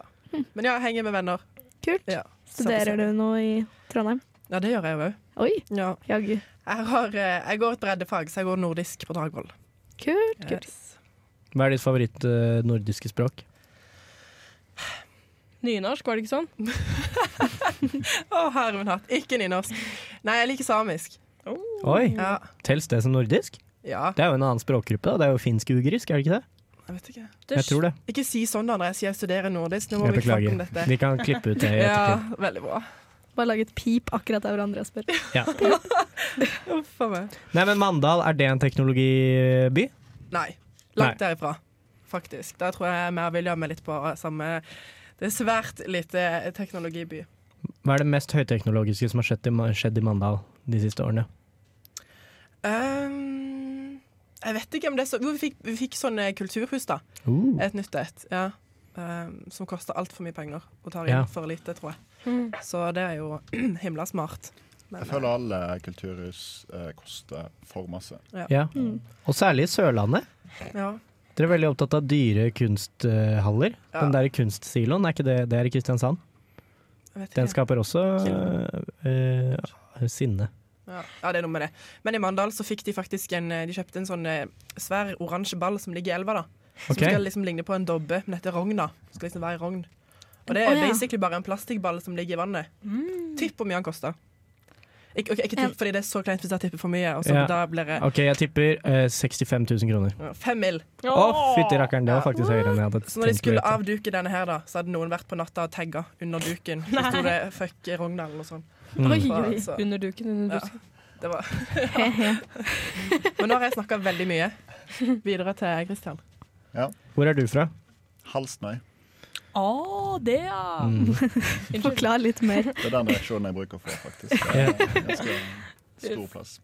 [SPEAKER 6] Men ja, henger med venner.
[SPEAKER 5] Kult.
[SPEAKER 6] Ja.
[SPEAKER 5] Studerer du noe i Trondheim?
[SPEAKER 6] Ja, det gjør jeg jo òg.
[SPEAKER 5] Oi,
[SPEAKER 6] Ja.
[SPEAKER 5] jaggu.
[SPEAKER 6] Jeg, har, eh, jeg går et breddefag, så jeg går nordisk på Dragvoll.
[SPEAKER 5] Kult, kult.
[SPEAKER 6] Yes.
[SPEAKER 1] Hva er ditt favoritt-nordiske språk?
[SPEAKER 2] Nynorsk, var det ikke sånn?
[SPEAKER 6] Å, herre min hatt. Ikke nynorsk. Nei, jeg liker samisk.
[SPEAKER 1] Oi,
[SPEAKER 6] Ja.
[SPEAKER 1] tels det som nordisk?
[SPEAKER 6] ja.
[SPEAKER 1] Det er jo en annen språkgruppe, da. Det er jo finsk-ugrisk, er det ikke det?
[SPEAKER 6] Jeg vet ikke.
[SPEAKER 1] Jeg tror det.
[SPEAKER 6] Ikke si sånn, da, når jeg sier jeg studerer nordisk. Nå må
[SPEAKER 1] Jeg
[SPEAKER 6] vi snakke om
[SPEAKER 1] beklager.
[SPEAKER 6] dette.
[SPEAKER 1] Vi kan klippe ut det i
[SPEAKER 6] Ja,
[SPEAKER 1] ettertid.
[SPEAKER 6] veldig bra.
[SPEAKER 5] Bare lag et pip akkurat der hverandre og spør.
[SPEAKER 1] Ja.
[SPEAKER 6] Uff a meg.
[SPEAKER 1] Nei, men Mandal, er det en teknologiby?
[SPEAKER 6] Nei. Langt derifra, faktisk. Der tror jeg vi og William er litt på samme Det er svært lite teknologiby.
[SPEAKER 1] Hva er det mest høyteknologiske som har skjedd i, Ma- skjedd i Mandal de siste årene?
[SPEAKER 6] Ehm, jeg vet ikke om det er så Jo, vi fikk, vi fikk sånne kulturhus, da.
[SPEAKER 1] Uh.
[SPEAKER 6] Et nytt et. Ja. Ehm, som koster altfor mye penger og tar inn
[SPEAKER 1] Ja.
[SPEAKER 6] for lite, tror jeg.
[SPEAKER 5] Mm.
[SPEAKER 6] Så det er jo himla smart. Men,
[SPEAKER 7] Jeg føler alle kulturhus eh, koster for masse.
[SPEAKER 1] Ja. Og særlig i Sørlandet.
[SPEAKER 6] eh, Ja.
[SPEAKER 1] Dere er veldig opptatt av dyre kunsthaller.
[SPEAKER 6] Ja.
[SPEAKER 1] Den der kunstsiloen, er ikke det, det er i Kristiansand?
[SPEAKER 6] Jeg vet ikke.
[SPEAKER 1] Den skaper også eh, eh, sinne.
[SPEAKER 6] Ja, ja, det er noe med det. Men i Mandal så fikk de faktisk en eh, De kjøpte en sånn eh, svær oransje ball som ligger i elva, da. Som
[SPEAKER 1] Ok.
[SPEAKER 6] skal liksom ligne på en dobbe, men dette er rogn, da. Det Skal liksom være rogn. Og det
[SPEAKER 12] Å,
[SPEAKER 6] er
[SPEAKER 12] ja.
[SPEAKER 6] basically bare en plastikkball som ligger i vannet. Tipp hvor mye den koster. Ik ok, ikke tipp fordi det er så kleint hvis jeg tipper for mye. Og så
[SPEAKER 1] Ja.
[SPEAKER 6] da blir det
[SPEAKER 1] OK, jeg tipper eh, 65 000 kroner.
[SPEAKER 6] ja, fem mil.
[SPEAKER 1] Å, fytti rakkeren, det var faktisk høyere enn jeg hadde
[SPEAKER 6] Så når de
[SPEAKER 1] tenkt.
[SPEAKER 6] skulle
[SPEAKER 1] å gjette.
[SPEAKER 6] avduke denne her, da, så hadde noen vært på natta og tagga under duken. Så sto det 'fuck Rogndal' eller noe sånt.
[SPEAKER 1] Mm. Oi,
[SPEAKER 2] oi. Under duken, under
[SPEAKER 6] busken. Ja, det var Men nå har jeg snakka veldig mye. Videre til Kristian.
[SPEAKER 1] Hvor er du fra?
[SPEAKER 7] Halsnøy.
[SPEAKER 2] Å, det, ja!
[SPEAKER 1] Mm.
[SPEAKER 5] Forklar litt mer.
[SPEAKER 7] Det er den reaksjonen jeg bruker å få, faktisk. Det er en ganske stor plass.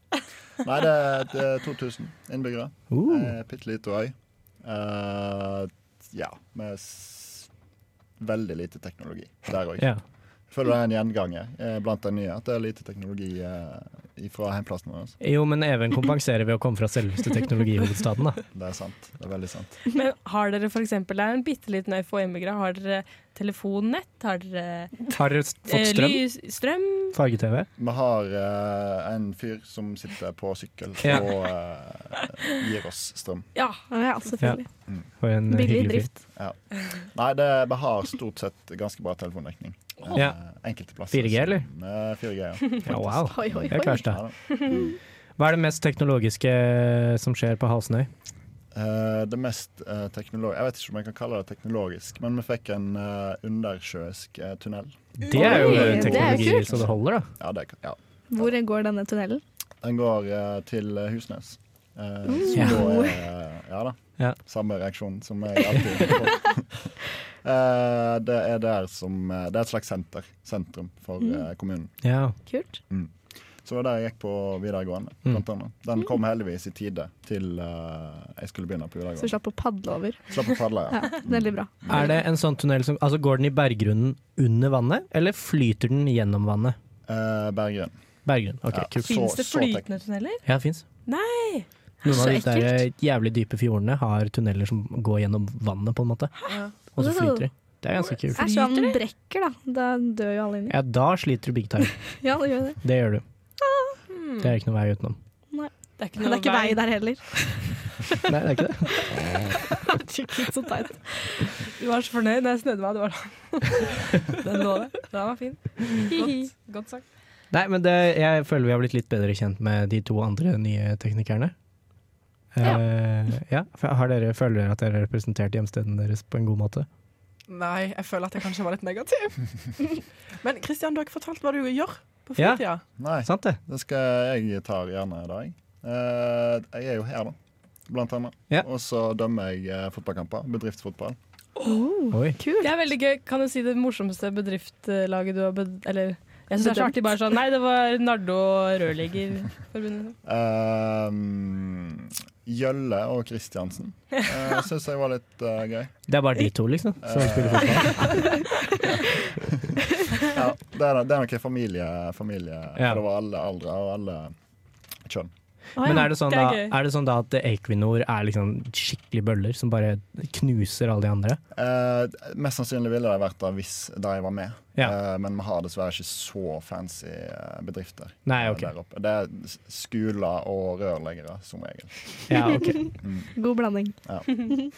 [SPEAKER 7] Nei, det er, det er 2000 innbyggere. Uh. Bitte lite øy. Eh, ja, med s veldig lite teknologi der òg.
[SPEAKER 1] Ja.
[SPEAKER 7] Jeg føler det er en gjenganger eh, blant de nye, at det er lite teknologi eh, fra hjemplassen vår.
[SPEAKER 1] Jo, men Even kompenserer ved å komme fra selveste teknologihovedstaden, da.
[SPEAKER 7] Det er sant. Det er veldig sant.
[SPEAKER 2] Men har dere for eksempel, det er en bitte liten øy for innbyggere, har dere telefonnett? Har dere
[SPEAKER 1] Har dere s- fått
[SPEAKER 2] eh,
[SPEAKER 1] strøm?
[SPEAKER 2] lys, strøm?
[SPEAKER 1] Farge-TV?
[SPEAKER 7] Vi har eh, en fyr som sitter på sykkel
[SPEAKER 1] Ja.
[SPEAKER 7] og eh, gir oss strøm.
[SPEAKER 2] Ja,
[SPEAKER 5] ja selvfølgelig.
[SPEAKER 7] Mm.
[SPEAKER 1] For en
[SPEAKER 5] Billig
[SPEAKER 1] hyggelig fyr.
[SPEAKER 5] drift.
[SPEAKER 7] Ja. Nei, det, vi har stort sett ganske bra telefondekning. Eh,
[SPEAKER 1] Ja.
[SPEAKER 7] Enkelte plasser.
[SPEAKER 1] 4G, eller?
[SPEAKER 7] som, eh, 4G, ja.
[SPEAKER 1] Ja, wow.
[SPEAKER 7] faktisk.
[SPEAKER 1] Det er klart,
[SPEAKER 7] Ja,
[SPEAKER 1] det.
[SPEAKER 7] da.
[SPEAKER 1] Hva er det mest teknologiske som skjer på Halsnøy?
[SPEAKER 7] Eh, det mest eh, teknolog... Jeg vet ikke om jeg kan kalle det teknologisk, men vi fikk en eh, undersjøisk eh, tunnel.
[SPEAKER 1] Det er jo
[SPEAKER 5] Oi, det er
[SPEAKER 1] teknologi
[SPEAKER 5] kult.
[SPEAKER 1] så det holder, da.
[SPEAKER 7] Ja, det, er- ja.
[SPEAKER 5] Hvor går denne tunnelen?
[SPEAKER 7] Den går eh, til eh, Husnes. Eh,
[SPEAKER 5] Mm.
[SPEAKER 7] Som da
[SPEAKER 5] Ja.
[SPEAKER 7] er eh, Ja da.
[SPEAKER 1] Ja.
[SPEAKER 7] Samme reaksjon som jeg alltid får. Eh, det er der som eh, Det er et slags senter. Sentrum for
[SPEAKER 5] Mm.
[SPEAKER 7] eh, kommunen.
[SPEAKER 1] Ja.
[SPEAKER 5] Kult.
[SPEAKER 7] Mm. Så det var der jeg gikk på videregående.
[SPEAKER 1] Mm.
[SPEAKER 7] Blant annet. Den kom heldigvis i tide til eh, jeg skulle begynne på
[SPEAKER 5] Så vi
[SPEAKER 7] videregående.
[SPEAKER 5] slapp å padle over.
[SPEAKER 7] Slapp å padle, ja.
[SPEAKER 5] Ja, veldig bra.
[SPEAKER 1] Er det en sånn tunnel som Altså, går den i berggrunnen under vannet, eller flyter den gjennom vannet?
[SPEAKER 7] Eh, Berggrunn.
[SPEAKER 1] Berggrunn. OK, kult.
[SPEAKER 2] Fins det flytende tunneler?
[SPEAKER 1] Ja, det fins.
[SPEAKER 2] Nei!
[SPEAKER 1] Noen av
[SPEAKER 2] Så
[SPEAKER 1] de der jævlig dype fjordene har tunneler som går gjennom vannet, på en måte. Og så flyter de. Det er ganske kult.
[SPEAKER 5] Æsj, han brekker, da. Da dør jo alle inni.
[SPEAKER 1] Ja, da sliter du big time.
[SPEAKER 5] Ja, det gjør det.
[SPEAKER 1] Det gjør du. Det er ikke noe vei utenom.
[SPEAKER 5] Nei.
[SPEAKER 2] Hmm, Det er ikke
[SPEAKER 5] Men det
[SPEAKER 2] noe
[SPEAKER 5] er ikke vei
[SPEAKER 2] vei.
[SPEAKER 5] der heller.
[SPEAKER 1] Nei, det er ikke det.
[SPEAKER 5] Skikkelig så teit.
[SPEAKER 2] Du var så fornøyd da jeg snudde meg. Du var sånn. Den lå der. Den var fin. Godt, godt sagt.
[SPEAKER 1] Nei, men det, jeg føler vi har blitt litt bedre kjent med de to andre nye teknikerne. Ja. ja. for Har dere, føler dere at dere har representert hjemstedene deres på en god måte?
[SPEAKER 6] Nei, jeg føler at jeg kanskje var litt negativ. Men Kristian, du har ikke fortalt hva du gjør på
[SPEAKER 1] Ja.
[SPEAKER 6] fritida.
[SPEAKER 7] Nei,
[SPEAKER 1] Sant det?
[SPEAKER 7] det skal jeg ta gjerne i dag. Eh, jeg er jo her, da. Blant annet.
[SPEAKER 1] Ja.
[SPEAKER 7] Og så dømmer jeg eh, fotballkamper. Bedriftsfotball.
[SPEAKER 2] Mm.
[SPEAKER 1] Oi.
[SPEAKER 5] Kult.
[SPEAKER 2] Det er veldig gøy. Kan du si det morsomste bedriftlaget du har bed... Eller jeg syns det er så artig. Bare sånn Nei, det var Nardo Rørleggerforbundet.
[SPEAKER 7] Ehm, Gjølle og Kristiansen uh, syns jeg var litt eh, gøy.
[SPEAKER 1] Det er bare de to, liksom, som
[SPEAKER 7] Eh,
[SPEAKER 1] spiller fotball?
[SPEAKER 7] ja, det, er, det er noe familie, familie
[SPEAKER 1] Ja.
[SPEAKER 7] for det var alle aldre og alle kjønn.
[SPEAKER 1] Men er det, sånn
[SPEAKER 2] Det
[SPEAKER 1] da,
[SPEAKER 2] er gøy.
[SPEAKER 1] er det sånn da at Equinor er liksom skikkelig bøller som bare knuser alle de andre?
[SPEAKER 7] Eh, mest sannsynlig ville det vært der hvis de var med,
[SPEAKER 1] Ja.
[SPEAKER 7] Eh, men vi har dessverre ikke så fancy eh, bedrifter
[SPEAKER 1] Nei,
[SPEAKER 7] eh,
[SPEAKER 1] ok.
[SPEAKER 7] der oppe. Det er s- skoler og rørleggere som regel. Mm.
[SPEAKER 1] Ja, ok.
[SPEAKER 5] God blanding.
[SPEAKER 7] Ja.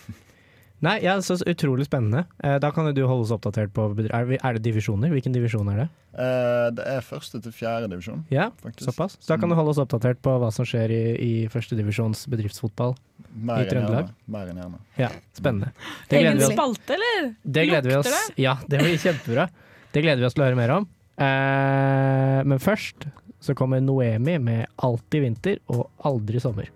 [SPEAKER 1] Nei, ja, så utrolig spennende. Eh, Da kan jo du holde oss oppdatert på bedri- Er vi- er det divisjoner? Hvilken divisjon er det?
[SPEAKER 7] Eh, det er første til fjerde divisjon,
[SPEAKER 1] Ja,
[SPEAKER 7] faktisk.
[SPEAKER 1] såpass. Så da
[SPEAKER 2] Mm.
[SPEAKER 1] kan du holde oss oppdatert på hva som skjer i, i førstedivisjons bedriftsfotball.
[SPEAKER 7] Mer
[SPEAKER 1] I
[SPEAKER 7] enn
[SPEAKER 1] Trøndelag?
[SPEAKER 7] gjerne. Mer enn gjerne.
[SPEAKER 1] Ja, spennende. Det gleder
[SPEAKER 2] Egen
[SPEAKER 1] vi oss
[SPEAKER 2] spalte, eller?
[SPEAKER 1] Det gleder vi
[SPEAKER 2] Lukter
[SPEAKER 1] oss Ja, det blir kjempebra. Det gleder vi oss til å høre mer om. Eh, men først så kommer Noemi med 'Alltid vinter og aldri sommer'.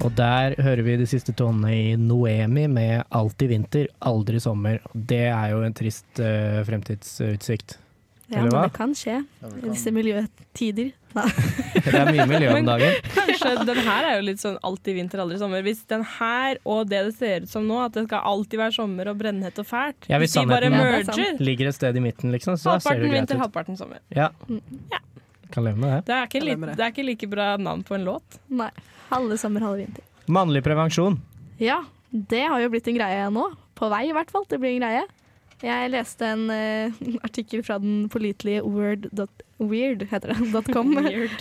[SPEAKER 1] Og der hører vi de siste tonene i Noemi med 'Alltid vinter, aldri sommer'. Og Det er jo en trist eh, fremtidsutsikt.
[SPEAKER 5] Ja,
[SPEAKER 1] Eller
[SPEAKER 5] men
[SPEAKER 1] hva?
[SPEAKER 5] det kan skje i disse miljøtider. Da.
[SPEAKER 1] Det er mye miljø om
[SPEAKER 2] Men-
[SPEAKER 1] dagen.
[SPEAKER 2] Kanskje den her er jo litt sånn alltid vinter, aldri sommer. Hvis den her og det det ser ut som nå, at det skal alltid være sommer og brennhett og fælt
[SPEAKER 1] Ja,
[SPEAKER 2] Hvis de bare
[SPEAKER 1] sannheten
[SPEAKER 2] merger.
[SPEAKER 1] ligger et sted i midten, liksom, så ser det
[SPEAKER 2] Halvparten
[SPEAKER 1] greit
[SPEAKER 2] vinter,
[SPEAKER 1] ut.
[SPEAKER 2] halvparten sommer.
[SPEAKER 1] Ja. Kan leve med det.
[SPEAKER 2] Det er, ikke li det er ikke like bra navn på en låt.
[SPEAKER 5] Nei. Halve sommer, halve vinter.
[SPEAKER 1] Mannlig prevensjon.
[SPEAKER 5] Ja, det har jo blitt en greie nå. På vei, i hvert fall. Det blir en greie. Jeg leste en eh, artikkel fra den pålitelige word.weird, heter det, .com,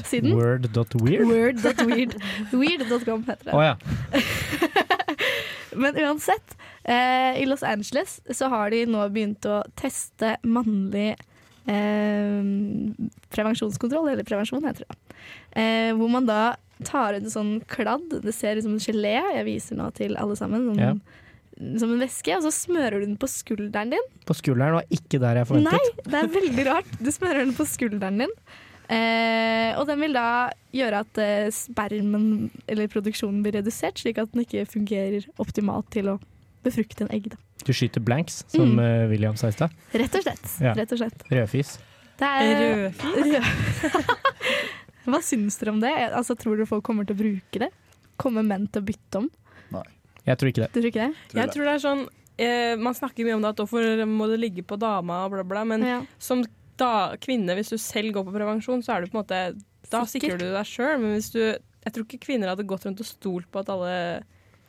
[SPEAKER 5] siden.
[SPEAKER 1] Word.weird?
[SPEAKER 5] Word.weird. Weird.com heter det.
[SPEAKER 1] Å ja.
[SPEAKER 5] Men uansett, eh, i Los Angeles så har de nå begynt å teste mannlig eh, prevensjonskontroll, eller prevensjon heter det. Eh, hvor man da tar ut en sånn kladd, det ser ut som en gelé, jeg viser nå til alle sammen, sånn,
[SPEAKER 1] Ja.
[SPEAKER 5] som en væske, og så smører du den på skulderen din.
[SPEAKER 1] På skulderen var ikke der jeg forventet.
[SPEAKER 5] Nei, det er veldig rart. Du smører den på skulderen din. Eh, og den vil da gjøre at eh, spermen eller produksjonen blir redusert, slik at den ikke fungerer optimalt til å befrukte en egg. Da.
[SPEAKER 1] Du skyter blanks, som
[SPEAKER 5] Mm.
[SPEAKER 1] eh, William sa i stad.
[SPEAKER 5] Rett og slett.
[SPEAKER 1] Ja.
[SPEAKER 5] Rett og slett.
[SPEAKER 1] Rødfis.
[SPEAKER 5] Det er Rød- Hva syns dere om det? Altså, tror dere folk kommer til å bruke det? Kommer menn til å bytte om?
[SPEAKER 1] Jeg tror ikke
[SPEAKER 5] Du
[SPEAKER 1] det.
[SPEAKER 5] tror ikke det?
[SPEAKER 2] Jeg tror det er sånn eh, Man snakker mye om det at hvorfor må det ligge på dama og bla, bla, men
[SPEAKER 5] Ja.
[SPEAKER 2] som da, kvinne, hvis du selv går på prevensjon, så er du på en måte Da sikrer du deg sjøl, men hvis du Jeg tror ikke kvinner hadde gått rundt og stolt på at alle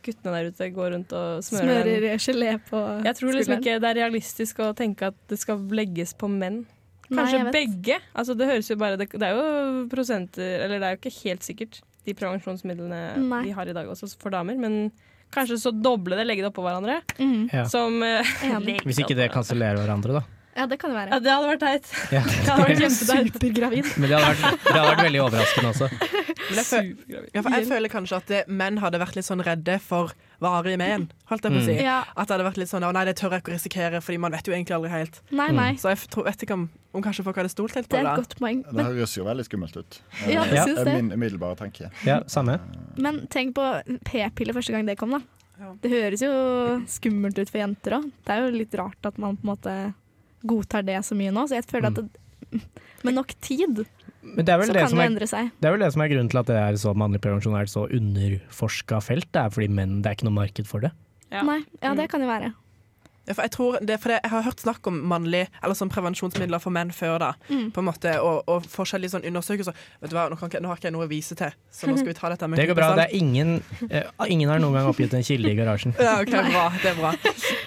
[SPEAKER 2] guttene der ute går rundt og smører,
[SPEAKER 5] Smører
[SPEAKER 2] den.
[SPEAKER 5] gelé på
[SPEAKER 2] Jeg tror liksom
[SPEAKER 5] skulderen.
[SPEAKER 2] ikke det er realistisk å tenke at det skal legges på menn.
[SPEAKER 5] Nei,
[SPEAKER 2] Kanskje
[SPEAKER 5] jeg vet.
[SPEAKER 2] begge. Altså det høres jo bare Det det er jo prosenter Eller det er jo ikke helt sikkert, de prevensjonsmidlene
[SPEAKER 5] Nei.
[SPEAKER 2] vi har i dag også for damer, men kanskje så doble det, legge det oppå hverandre.
[SPEAKER 5] Mm.
[SPEAKER 1] Ja.
[SPEAKER 2] Som eh, legge
[SPEAKER 1] Hvis ikke
[SPEAKER 2] opp-
[SPEAKER 1] det kansellerer hverandre, da.
[SPEAKER 5] Ja, det kan det være.
[SPEAKER 2] Ja, det hadde vært teit.
[SPEAKER 1] Ja.
[SPEAKER 2] Det hadde vært kjempeteit.
[SPEAKER 5] Supergravid.
[SPEAKER 1] Men det hadde vært, det hadde vært veldig overraskende også.
[SPEAKER 6] Men jeg, føl ja, for jeg føler kanskje at eh, menn hadde vært litt sånn redde for varig men, holdt jeg på å si.
[SPEAKER 1] Mm. Ja.
[SPEAKER 6] At det hadde vært litt sånn, «Å, nei, det tør jeg ikke å risikere, fordi man vet jo egentlig aldri helt.
[SPEAKER 5] Nei, nei.
[SPEAKER 6] Så jeg f- tror, vet ikke om, om kanskje folk hadde stolt helt på
[SPEAKER 5] Det er
[SPEAKER 6] det.
[SPEAKER 5] et godt poeng.
[SPEAKER 7] Det høres jo veldig skummelt ut.
[SPEAKER 5] Ja, jeg synes
[SPEAKER 7] er
[SPEAKER 5] det.
[SPEAKER 7] Min umiddelbare tanke.
[SPEAKER 1] Ja, samme.
[SPEAKER 5] Men tenk på p-piller første gang det kom, da. Det høres jo skummelt ut for jenter òg. Det er jo litt rart at man på en måte godtar det så mye nå. Så jeg føler at det, med nok tid
[SPEAKER 1] Men Mm. det er vel
[SPEAKER 5] så
[SPEAKER 1] det
[SPEAKER 5] kan
[SPEAKER 1] som
[SPEAKER 5] det
[SPEAKER 1] er-
[SPEAKER 5] endre seg.
[SPEAKER 1] Det er vel det som er grunnen til at det er så mannlig prevensjon er et så underforska felt. Det er fordi menn, det er ikke noe marked for det.
[SPEAKER 5] Nei, ja,
[SPEAKER 1] Mm.
[SPEAKER 5] det kan jo være.
[SPEAKER 6] Ja, for jeg, tror det, for det, jeg har hørt snakk om mannlig, eller sånn prevensjonsmidler for menn før da.
[SPEAKER 5] Mm.
[SPEAKER 6] På en måte, og, og forskjellige sånne undersøkelser. sånn Vet du hva, nå, kan ikke, nå har ikke jeg noe å vise til, så nå skal vi ta dette med
[SPEAKER 1] Det går bra.
[SPEAKER 6] klype
[SPEAKER 1] Det
[SPEAKER 6] salt.
[SPEAKER 1] er ingen, eh, ingen har noen gang oppgitt en kilde i garasjen.
[SPEAKER 6] Ja, ok, bra, det er bra.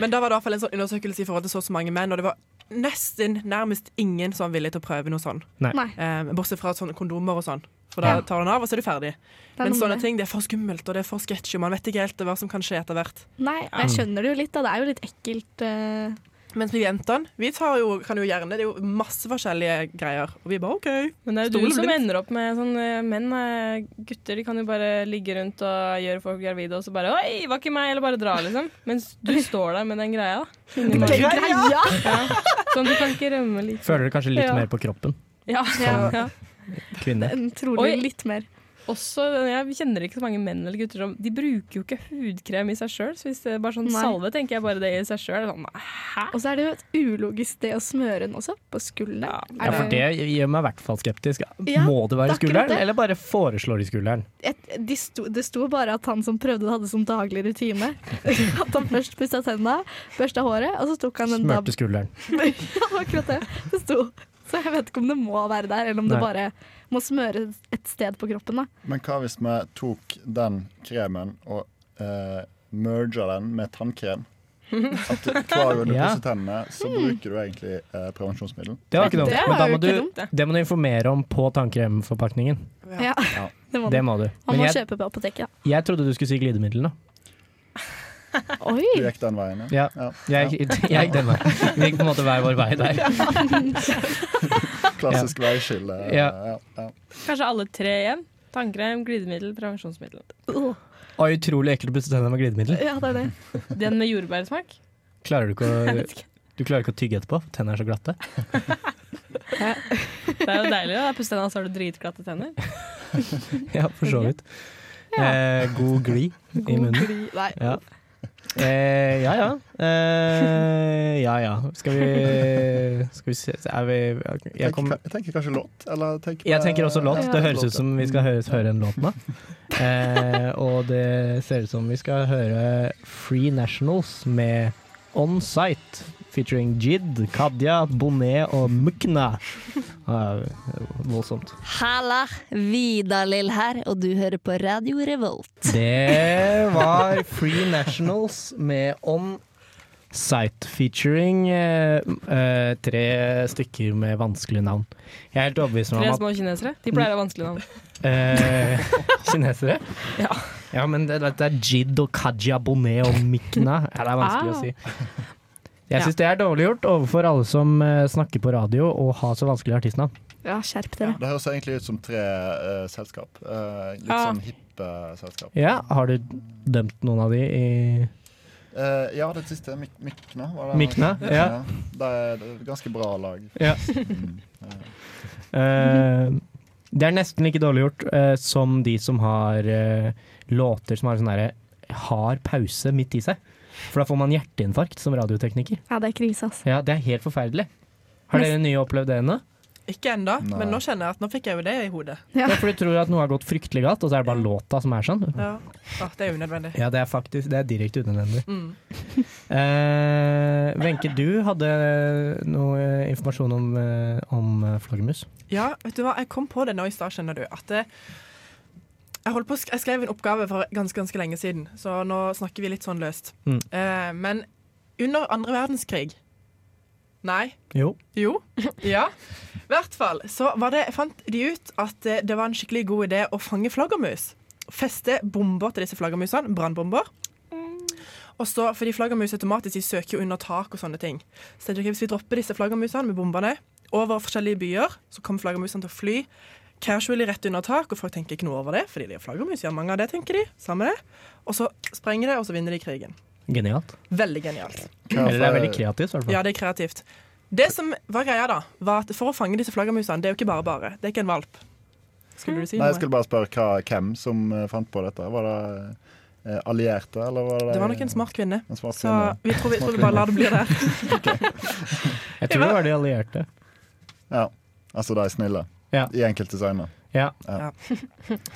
[SPEAKER 6] Men da var det i hvert fall en sånn undersøkelse i forhold til så og så mange menn, og det var nesten nærmest ingen som var villig til å prøve noe sånn.
[SPEAKER 1] Nei.
[SPEAKER 5] Nei.
[SPEAKER 6] Eh, bortsett fra sånne kondomer og sånn. For da
[SPEAKER 5] Ja.
[SPEAKER 6] tar du den av, og så er du ferdig.
[SPEAKER 5] er
[SPEAKER 6] Men
[SPEAKER 5] noe
[SPEAKER 6] sånne
[SPEAKER 5] med det.
[SPEAKER 6] ting, det er for skummelt, og det er for sketchy, og man vet ikke helt hva som kan skje etter hvert.
[SPEAKER 5] Nei, og
[SPEAKER 1] Mm.
[SPEAKER 5] jeg skjønner det jo litt, da. Det er jo litt ekkelt. eh,
[SPEAKER 6] Mens vi jentene, vi tar jo, kan jo gjerne, det er jo masse forskjellige greier, og vi bare OK.
[SPEAKER 2] Men det er jo
[SPEAKER 6] Stole
[SPEAKER 2] du som
[SPEAKER 6] blindt.
[SPEAKER 2] ender opp med sånn eh, menn. eh, Gutter de kan jo bare ligge rundt og gjøre folk gravide, og så bare Oi, var ikke meg! Eller bare dra, liksom. Mens du står der med den greia. da. Inni
[SPEAKER 1] Den
[SPEAKER 2] magen.
[SPEAKER 1] greia?
[SPEAKER 2] Ja. Sånn du kan ikke rømme litt.
[SPEAKER 1] Føler det kanskje litt
[SPEAKER 2] Ja.
[SPEAKER 1] mer på kroppen,
[SPEAKER 2] Ja.
[SPEAKER 1] Ja.
[SPEAKER 2] ja.
[SPEAKER 1] kvinne.
[SPEAKER 5] Trolig
[SPEAKER 2] Oi.
[SPEAKER 5] litt mer.
[SPEAKER 2] Også, jeg kjenner ikke så mange menn eller gutter som De bruker jo ikke hudkrem i seg sjøl. Så hvis det er bare sånn
[SPEAKER 5] Nei.
[SPEAKER 2] salve, tenker jeg bare det i seg sjøl. Sånn,
[SPEAKER 5] Og så er det jo et ulogisk sted å smøre den også, på skulderen.
[SPEAKER 1] Ja, for det gjør meg i hvert fall skeptisk.
[SPEAKER 5] Ja,
[SPEAKER 1] Må det være i
[SPEAKER 5] det er akkurat
[SPEAKER 1] skulderen,
[SPEAKER 5] det.
[SPEAKER 1] eller bare foreslår i skulderen?
[SPEAKER 5] Et, de sto, det sto bare at han som prøvde det, hadde som daglig rutine. At han først pussa tenna, børsta håret, og så tok han en dab
[SPEAKER 1] Smørte skulderen.
[SPEAKER 5] Ja, akkurat det. Det sto. Så jeg vet ikke om det må være der, eller om
[SPEAKER 7] Nei.
[SPEAKER 5] det bare må smøre et sted på kroppen. Da.
[SPEAKER 7] Men hva hvis vi tok den kremen og uh, merger den med tannkrem? At du- hver gang du
[SPEAKER 1] Ja.
[SPEAKER 7] pusser tennene, så
[SPEAKER 1] Mm.
[SPEAKER 7] bruker du egentlig eh, prevensjonsmiddel.
[SPEAKER 1] Det var ikke dumt. Men da må
[SPEAKER 5] ikke
[SPEAKER 1] du,
[SPEAKER 5] dumt, det.
[SPEAKER 1] det må du informere om på tannkremforpakningen.
[SPEAKER 5] Ja,
[SPEAKER 7] Ja.
[SPEAKER 5] det må,
[SPEAKER 1] Det
[SPEAKER 5] du.
[SPEAKER 1] må du.
[SPEAKER 5] Man må
[SPEAKER 1] Men jeg,
[SPEAKER 5] kjøpe på apoteket. da.
[SPEAKER 1] jeg trodde du skulle si glidemiddel, da.
[SPEAKER 5] Oi!
[SPEAKER 7] Du gikk den veien,
[SPEAKER 1] Ja. Jeg, jeg gikk den veien. Vi gikk på en måte hver vår vei der.
[SPEAKER 7] Klassisk veiskille. eh,
[SPEAKER 1] Ja.
[SPEAKER 7] ja.
[SPEAKER 2] Kanskje alle tre igjen. Tannkrem, glidemiddel, prevensjonsmiddel.
[SPEAKER 1] Og utrolig ekkelt å pusse tennene med glidemiddel.
[SPEAKER 5] Ja, det er det.
[SPEAKER 2] Den med jordbærsmak?
[SPEAKER 1] Klarer du ikke
[SPEAKER 2] Jeg
[SPEAKER 1] å
[SPEAKER 2] vet ikke.
[SPEAKER 1] du klarer ikke å tygge etterpå? Tennene er så glatte.
[SPEAKER 2] Det er jo deilig. da. Puss tenna, så har du dritglatte tenner.
[SPEAKER 1] Ja, for så vidt.
[SPEAKER 2] Ja.
[SPEAKER 1] Eh, god glid i munnen.
[SPEAKER 5] gli- nei.
[SPEAKER 1] Ja. Eh, ja ja. Eh, ja ja. Skal vi Skal vi se Er vi Jeg, kom,
[SPEAKER 7] tenker, jeg tenker kanskje låt? Eller tenker
[SPEAKER 1] jeg
[SPEAKER 7] på-
[SPEAKER 1] tenker også låt.
[SPEAKER 7] Ja,
[SPEAKER 1] Det høres ut
[SPEAKER 7] ja.
[SPEAKER 1] som vi skal høre, høre en låt nå. Eh, og det ser ut som vi skal høre Free Nationals med On Site featuring Jid, Kadja, Bonnet og Mukna. Det er voldsomt.
[SPEAKER 10] Halla, Vidar-Lill her, og du hører på Radio Revolt.
[SPEAKER 1] Det var Free Nationals med On Site featuring eh, eh, tre stykker med vanskelige navn. Jeg er helt overbevist om
[SPEAKER 2] Tre
[SPEAKER 1] at
[SPEAKER 2] små kinesere. De pleier å ha vanskelige navn.
[SPEAKER 1] eh, Kinesere? Ja. men det, dette er Jid og Kaja Bonnet og Mikna. Ja, det er vanskelig
[SPEAKER 2] Ah.
[SPEAKER 1] å si. Jeg syns det er dårlig gjort overfor alle som eh, snakker på radio og har så vanskelige artistnavn.
[SPEAKER 5] Ja, skjerp dere.
[SPEAKER 7] Mm. Det høres egentlig ut som tre eh, selskap. Eh, litt
[SPEAKER 5] Ja.
[SPEAKER 7] sånn hippe selskap.
[SPEAKER 1] Ja, har du dømt noen av de i
[SPEAKER 7] Eh, ja, det siste. Mik Mikna, var det?
[SPEAKER 1] Mikna, ja.
[SPEAKER 7] Det er et ganske bra lag.
[SPEAKER 1] Ja.
[SPEAKER 7] Mm, eh.
[SPEAKER 1] Eh, det er nesten like dårlig gjort eh, som de som har eh, låter som har sånn derre hard pause midt i seg. For da får man hjerteinfarkt som radiotekniker.
[SPEAKER 5] Ja, det er krise, altså.
[SPEAKER 1] Ja, det er helt forferdelig. Har dere nye opplevd det ennå?
[SPEAKER 6] Ikke ennå,
[SPEAKER 1] Nei.
[SPEAKER 6] men nå kjenner jeg at nå fikk jeg jo det i hodet.
[SPEAKER 1] Ja. for du tror at noe har gått fryktelig galt, og så er det bare låta som er sånn.
[SPEAKER 6] Ja. Å, det er unødvendig.
[SPEAKER 1] Ja, det er faktisk Det er direkte unødvendig.
[SPEAKER 6] Mm.
[SPEAKER 1] Eh, Wenche, du hadde noe eh, informasjon om, eh, om eh, flaggermus.
[SPEAKER 6] Ja, vet du hva, jeg kom på det nå i stad, skjønner du. At det, jeg, holdt på, å sk- jeg skrev en oppgave for ganske, ganske lenge siden, så nå snakker vi litt sånn løst.
[SPEAKER 1] Mm.
[SPEAKER 6] Eh, men under andre verdenskrig Nei.
[SPEAKER 1] Jo.
[SPEAKER 6] Jo. Ja. I hvert fall så var det, fant de ut at eh, det var en skikkelig god idé å fange flaggermus. Feste bomber til disse flaggermusene, brannbomber. Og så, fordi flaggermus automatisk de søker jo under tak og sånne ting. Så tenkte jeg, ok, Hvis vi dropper disse flaggermusene med bombene over forskjellige byer, så kommer flaggermusene til å fly casually rett under tak, og folk tenker ikke noe over det, fordi de er flaggermus. Ja, mange av det tenker de. Samme det. Og så sprenger det, og så vinner de krigen.
[SPEAKER 1] Genialt.
[SPEAKER 6] Veldig genialt.
[SPEAKER 1] Eller det er veldig kreativt, i hvert fall.
[SPEAKER 6] Ja, det er kreativt. Det som var greia, da, var at for å fange disse flaggermusene Det er jo ikke bare bare. Det er ikke en valp. Skulle du si
[SPEAKER 7] Nei, jeg
[SPEAKER 6] noe?
[SPEAKER 7] skulle bare spørre hva, hvem som eh, fant på dette. Var det eh, allierte, eller var det
[SPEAKER 6] Det var nok en smart kvinne.
[SPEAKER 7] En smart
[SPEAKER 6] så
[SPEAKER 7] kvinne.
[SPEAKER 6] vi tror vi,
[SPEAKER 7] Smart
[SPEAKER 6] tror vi bare lar det bli
[SPEAKER 7] kvinne.
[SPEAKER 6] der.
[SPEAKER 1] Jeg tror det var de allierte.
[SPEAKER 7] Ja. Altså de snille.
[SPEAKER 1] Ja.
[SPEAKER 7] I enkelte scener.
[SPEAKER 1] Ja.
[SPEAKER 7] Ja.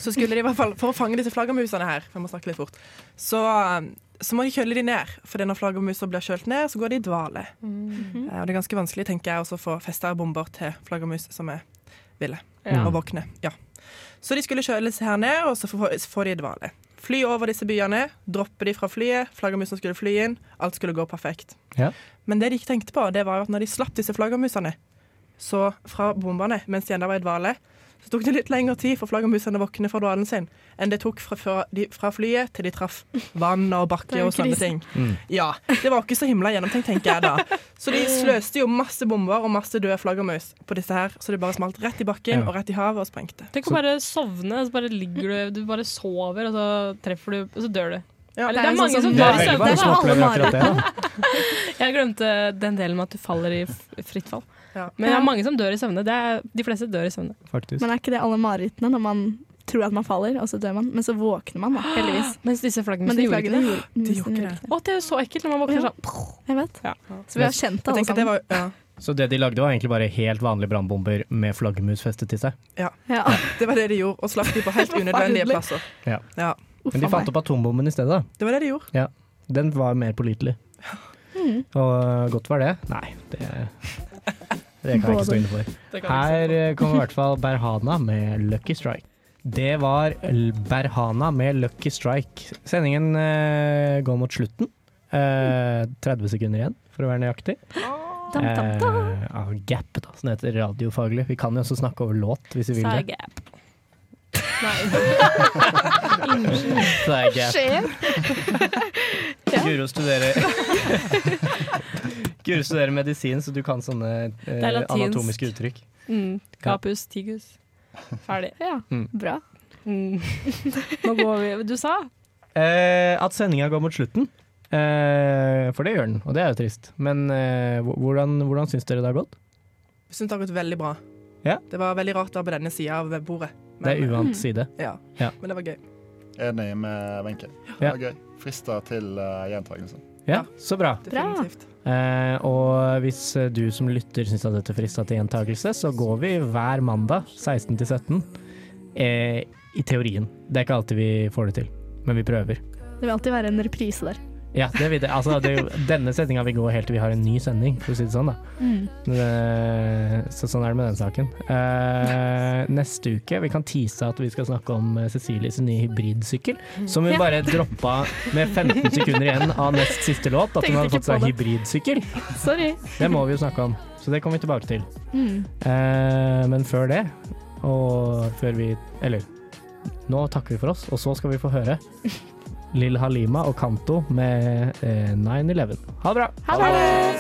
[SPEAKER 6] Så skulle de i hvert fall, for å fange disse flaggermusene her, for jeg må snakke litt fort, så, um, så må de kjøle de ned. For når flaggermuser blir kjølt ned, så går de i dvale. Eh, Og det er ganske vanskelig, tenker jeg, også å få festa bomber til flaggermus som er ville.
[SPEAKER 2] Ja.
[SPEAKER 6] Og våkne. Ja. Så de skulle kjøles her ned, og så få- så får de i dvale. Fly over disse byene, droppe de fra flyet, flaggermusene skulle fly inn, alt skulle gå perfekt.
[SPEAKER 1] Ja.
[SPEAKER 6] Men det de ikke tenkte på, det var jo at når de slapp disse flaggermusene så fra bombene mens de enda var i dvale, så tok det litt lengre tid for flaggermusene å våkne fra dvalen sin enn det tok fra, fra, de, fra flyet til de traff vann og
[SPEAKER 5] Det
[SPEAKER 6] bakke
[SPEAKER 5] er jo
[SPEAKER 6] og sånne
[SPEAKER 5] krise.
[SPEAKER 6] ting.
[SPEAKER 1] Mm.
[SPEAKER 6] Ja, Det var ikke så himla gjennomtenkt, tenker jeg da. Så de sløste jo masse bomber og masse døde flaggermus på disse her, så det bare smalt rett i bakken
[SPEAKER 1] Ja.
[SPEAKER 6] og rett i havet og sprengte.
[SPEAKER 2] Tenk å bare sovne, og så bare ligger du Du bare sover, og så treffer du, og så dør du.
[SPEAKER 6] Ja,
[SPEAKER 2] Eller,
[SPEAKER 6] det
[SPEAKER 2] det
[SPEAKER 6] er
[SPEAKER 2] er
[SPEAKER 6] jo
[SPEAKER 2] mange
[SPEAKER 6] sånn som-
[SPEAKER 2] som
[SPEAKER 6] Det er
[SPEAKER 2] dør i søvne.
[SPEAKER 6] veldig mange som
[SPEAKER 2] alle
[SPEAKER 6] opplever akkurat
[SPEAKER 2] mareritt. Jeg glemte den delen med at du faller i f- fritt fall. Men det er mange som dør i søvne. Det er, de fleste dør i søvne.
[SPEAKER 1] Faktisk.
[SPEAKER 5] Men er ikke det alle marerittene når man tror at man faller, og så dør man, men så våkner man, da, heldigvis.
[SPEAKER 2] Mens disse
[SPEAKER 5] Men
[SPEAKER 2] flaggermusene
[SPEAKER 5] de
[SPEAKER 2] gjorde ikke
[SPEAKER 5] flaggene
[SPEAKER 2] det.
[SPEAKER 5] gjorde, de gjorde ikke det.
[SPEAKER 2] Å, det er jo så ekkelt når man våkner sånn.
[SPEAKER 5] Jeg vet. Så vi har kjent det, alle
[SPEAKER 6] Jeg tenker at
[SPEAKER 5] sammen.
[SPEAKER 6] det var, ja.
[SPEAKER 1] Så det de lagde var egentlig bare helt vanlige brannbomber med flaggermus festet til seg.
[SPEAKER 6] Ja. Det var det de gjorde, og slapp de på helt unødvendige
[SPEAKER 5] Forferdelig.
[SPEAKER 6] plasser.
[SPEAKER 1] Ja.
[SPEAKER 6] Ja.
[SPEAKER 1] Men de fant opp atombomben i stedet. da.
[SPEAKER 6] Det var det de gjorde.
[SPEAKER 1] Ja. Den var mer pålitelig.
[SPEAKER 5] Mm.
[SPEAKER 1] Og godt var det. Nei, det, det kan jeg ikke stå inne for.
[SPEAKER 6] Det kan jeg
[SPEAKER 1] Her eh, kommer i hvert fall Berhana med Lucky Strike. Det var L- Berhana med Lucky Strike. Sendingen eh, går mot slutten. Eh, 30 sekunder igjen, for å være nøyaktig.
[SPEAKER 5] Dam, dam, dam.
[SPEAKER 1] Eh, av gap, da, som det heter radiofaglig. Vi kan jo også snakke over låt, hvis vi vil det.
[SPEAKER 2] Særgap.
[SPEAKER 1] Sær gap. Guro studerer Guro studerer medisin, så du kan sånne eh,
[SPEAKER 2] Det er latinsk.
[SPEAKER 1] anatomiske uttrykk.
[SPEAKER 2] Mm. Gapus, tigus. Ferdig.
[SPEAKER 5] Ja,
[SPEAKER 1] Mm.
[SPEAKER 5] bra.
[SPEAKER 2] Mm. Nå går vi Du sa?
[SPEAKER 1] Eh, at sendinga går mot slutten. Eh, for det gjør den, og det er jo trist. Men eh, hv- hvordan, hvordan syns dere det har gått?
[SPEAKER 6] Jeg synes det har gått veldig bra.
[SPEAKER 1] Ja.
[SPEAKER 6] Det var veldig rart å være på denne sida av bordet.
[SPEAKER 1] Det er uvant side.
[SPEAKER 6] Ja.
[SPEAKER 1] Ja.
[SPEAKER 6] Men det var gøy.
[SPEAKER 7] Enig med Wenche. Det
[SPEAKER 1] Ja.
[SPEAKER 7] var gøy. Frister til uh, gjentakelse.
[SPEAKER 1] Ja, så bra.
[SPEAKER 6] Definitivt.
[SPEAKER 1] Eh, og hvis eh, du som lytter syns at dette frista til gjentakelse, så går vi hver mandag 16 til 17. Eh, I teorien. Det er ikke alltid vi får det til, men vi prøver.
[SPEAKER 5] Det vil alltid være en reprise der.
[SPEAKER 1] Ja, det vet jeg. Altså, det er jo, denne sendinga vil gå helt til vi har en ny sending, for å si det sånn. da.
[SPEAKER 12] Mm.
[SPEAKER 1] Eh, Så sånn er det med den saken. Eh, neste uke vi kan tease at vi skal snakke om eh, Cecilies nye hybridsykkel, som vi
[SPEAKER 12] Ja.
[SPEAKER 1] bare droppa med 15 sekunder igjen av nest siste låt. At hun
[SPEAKER 12] Tenkte
[SPEAKER 1] hadde
[SPEAKER 12] ikke
[SPEAKER 1] fått
[SPEAKER 12] på
[SPEAKER 1] seg
[SPEAKER 12] det.
[SPEAKER 1] hybridsykkel.
[SPEAKER 12] Sorry.
[SPEAKER 1] Det må vi jo snakke om, så det kommer vi tilbake til.
[SPEAKER 12] Mm.
[SPEAKER 1] Eh, men før det, og før vi Eller, nå takker vi for oss, og så skal vi få høre Lill Halima og Kanto med eh, 9-11. Ha det bra!
[SPEAKER 12] Ha det!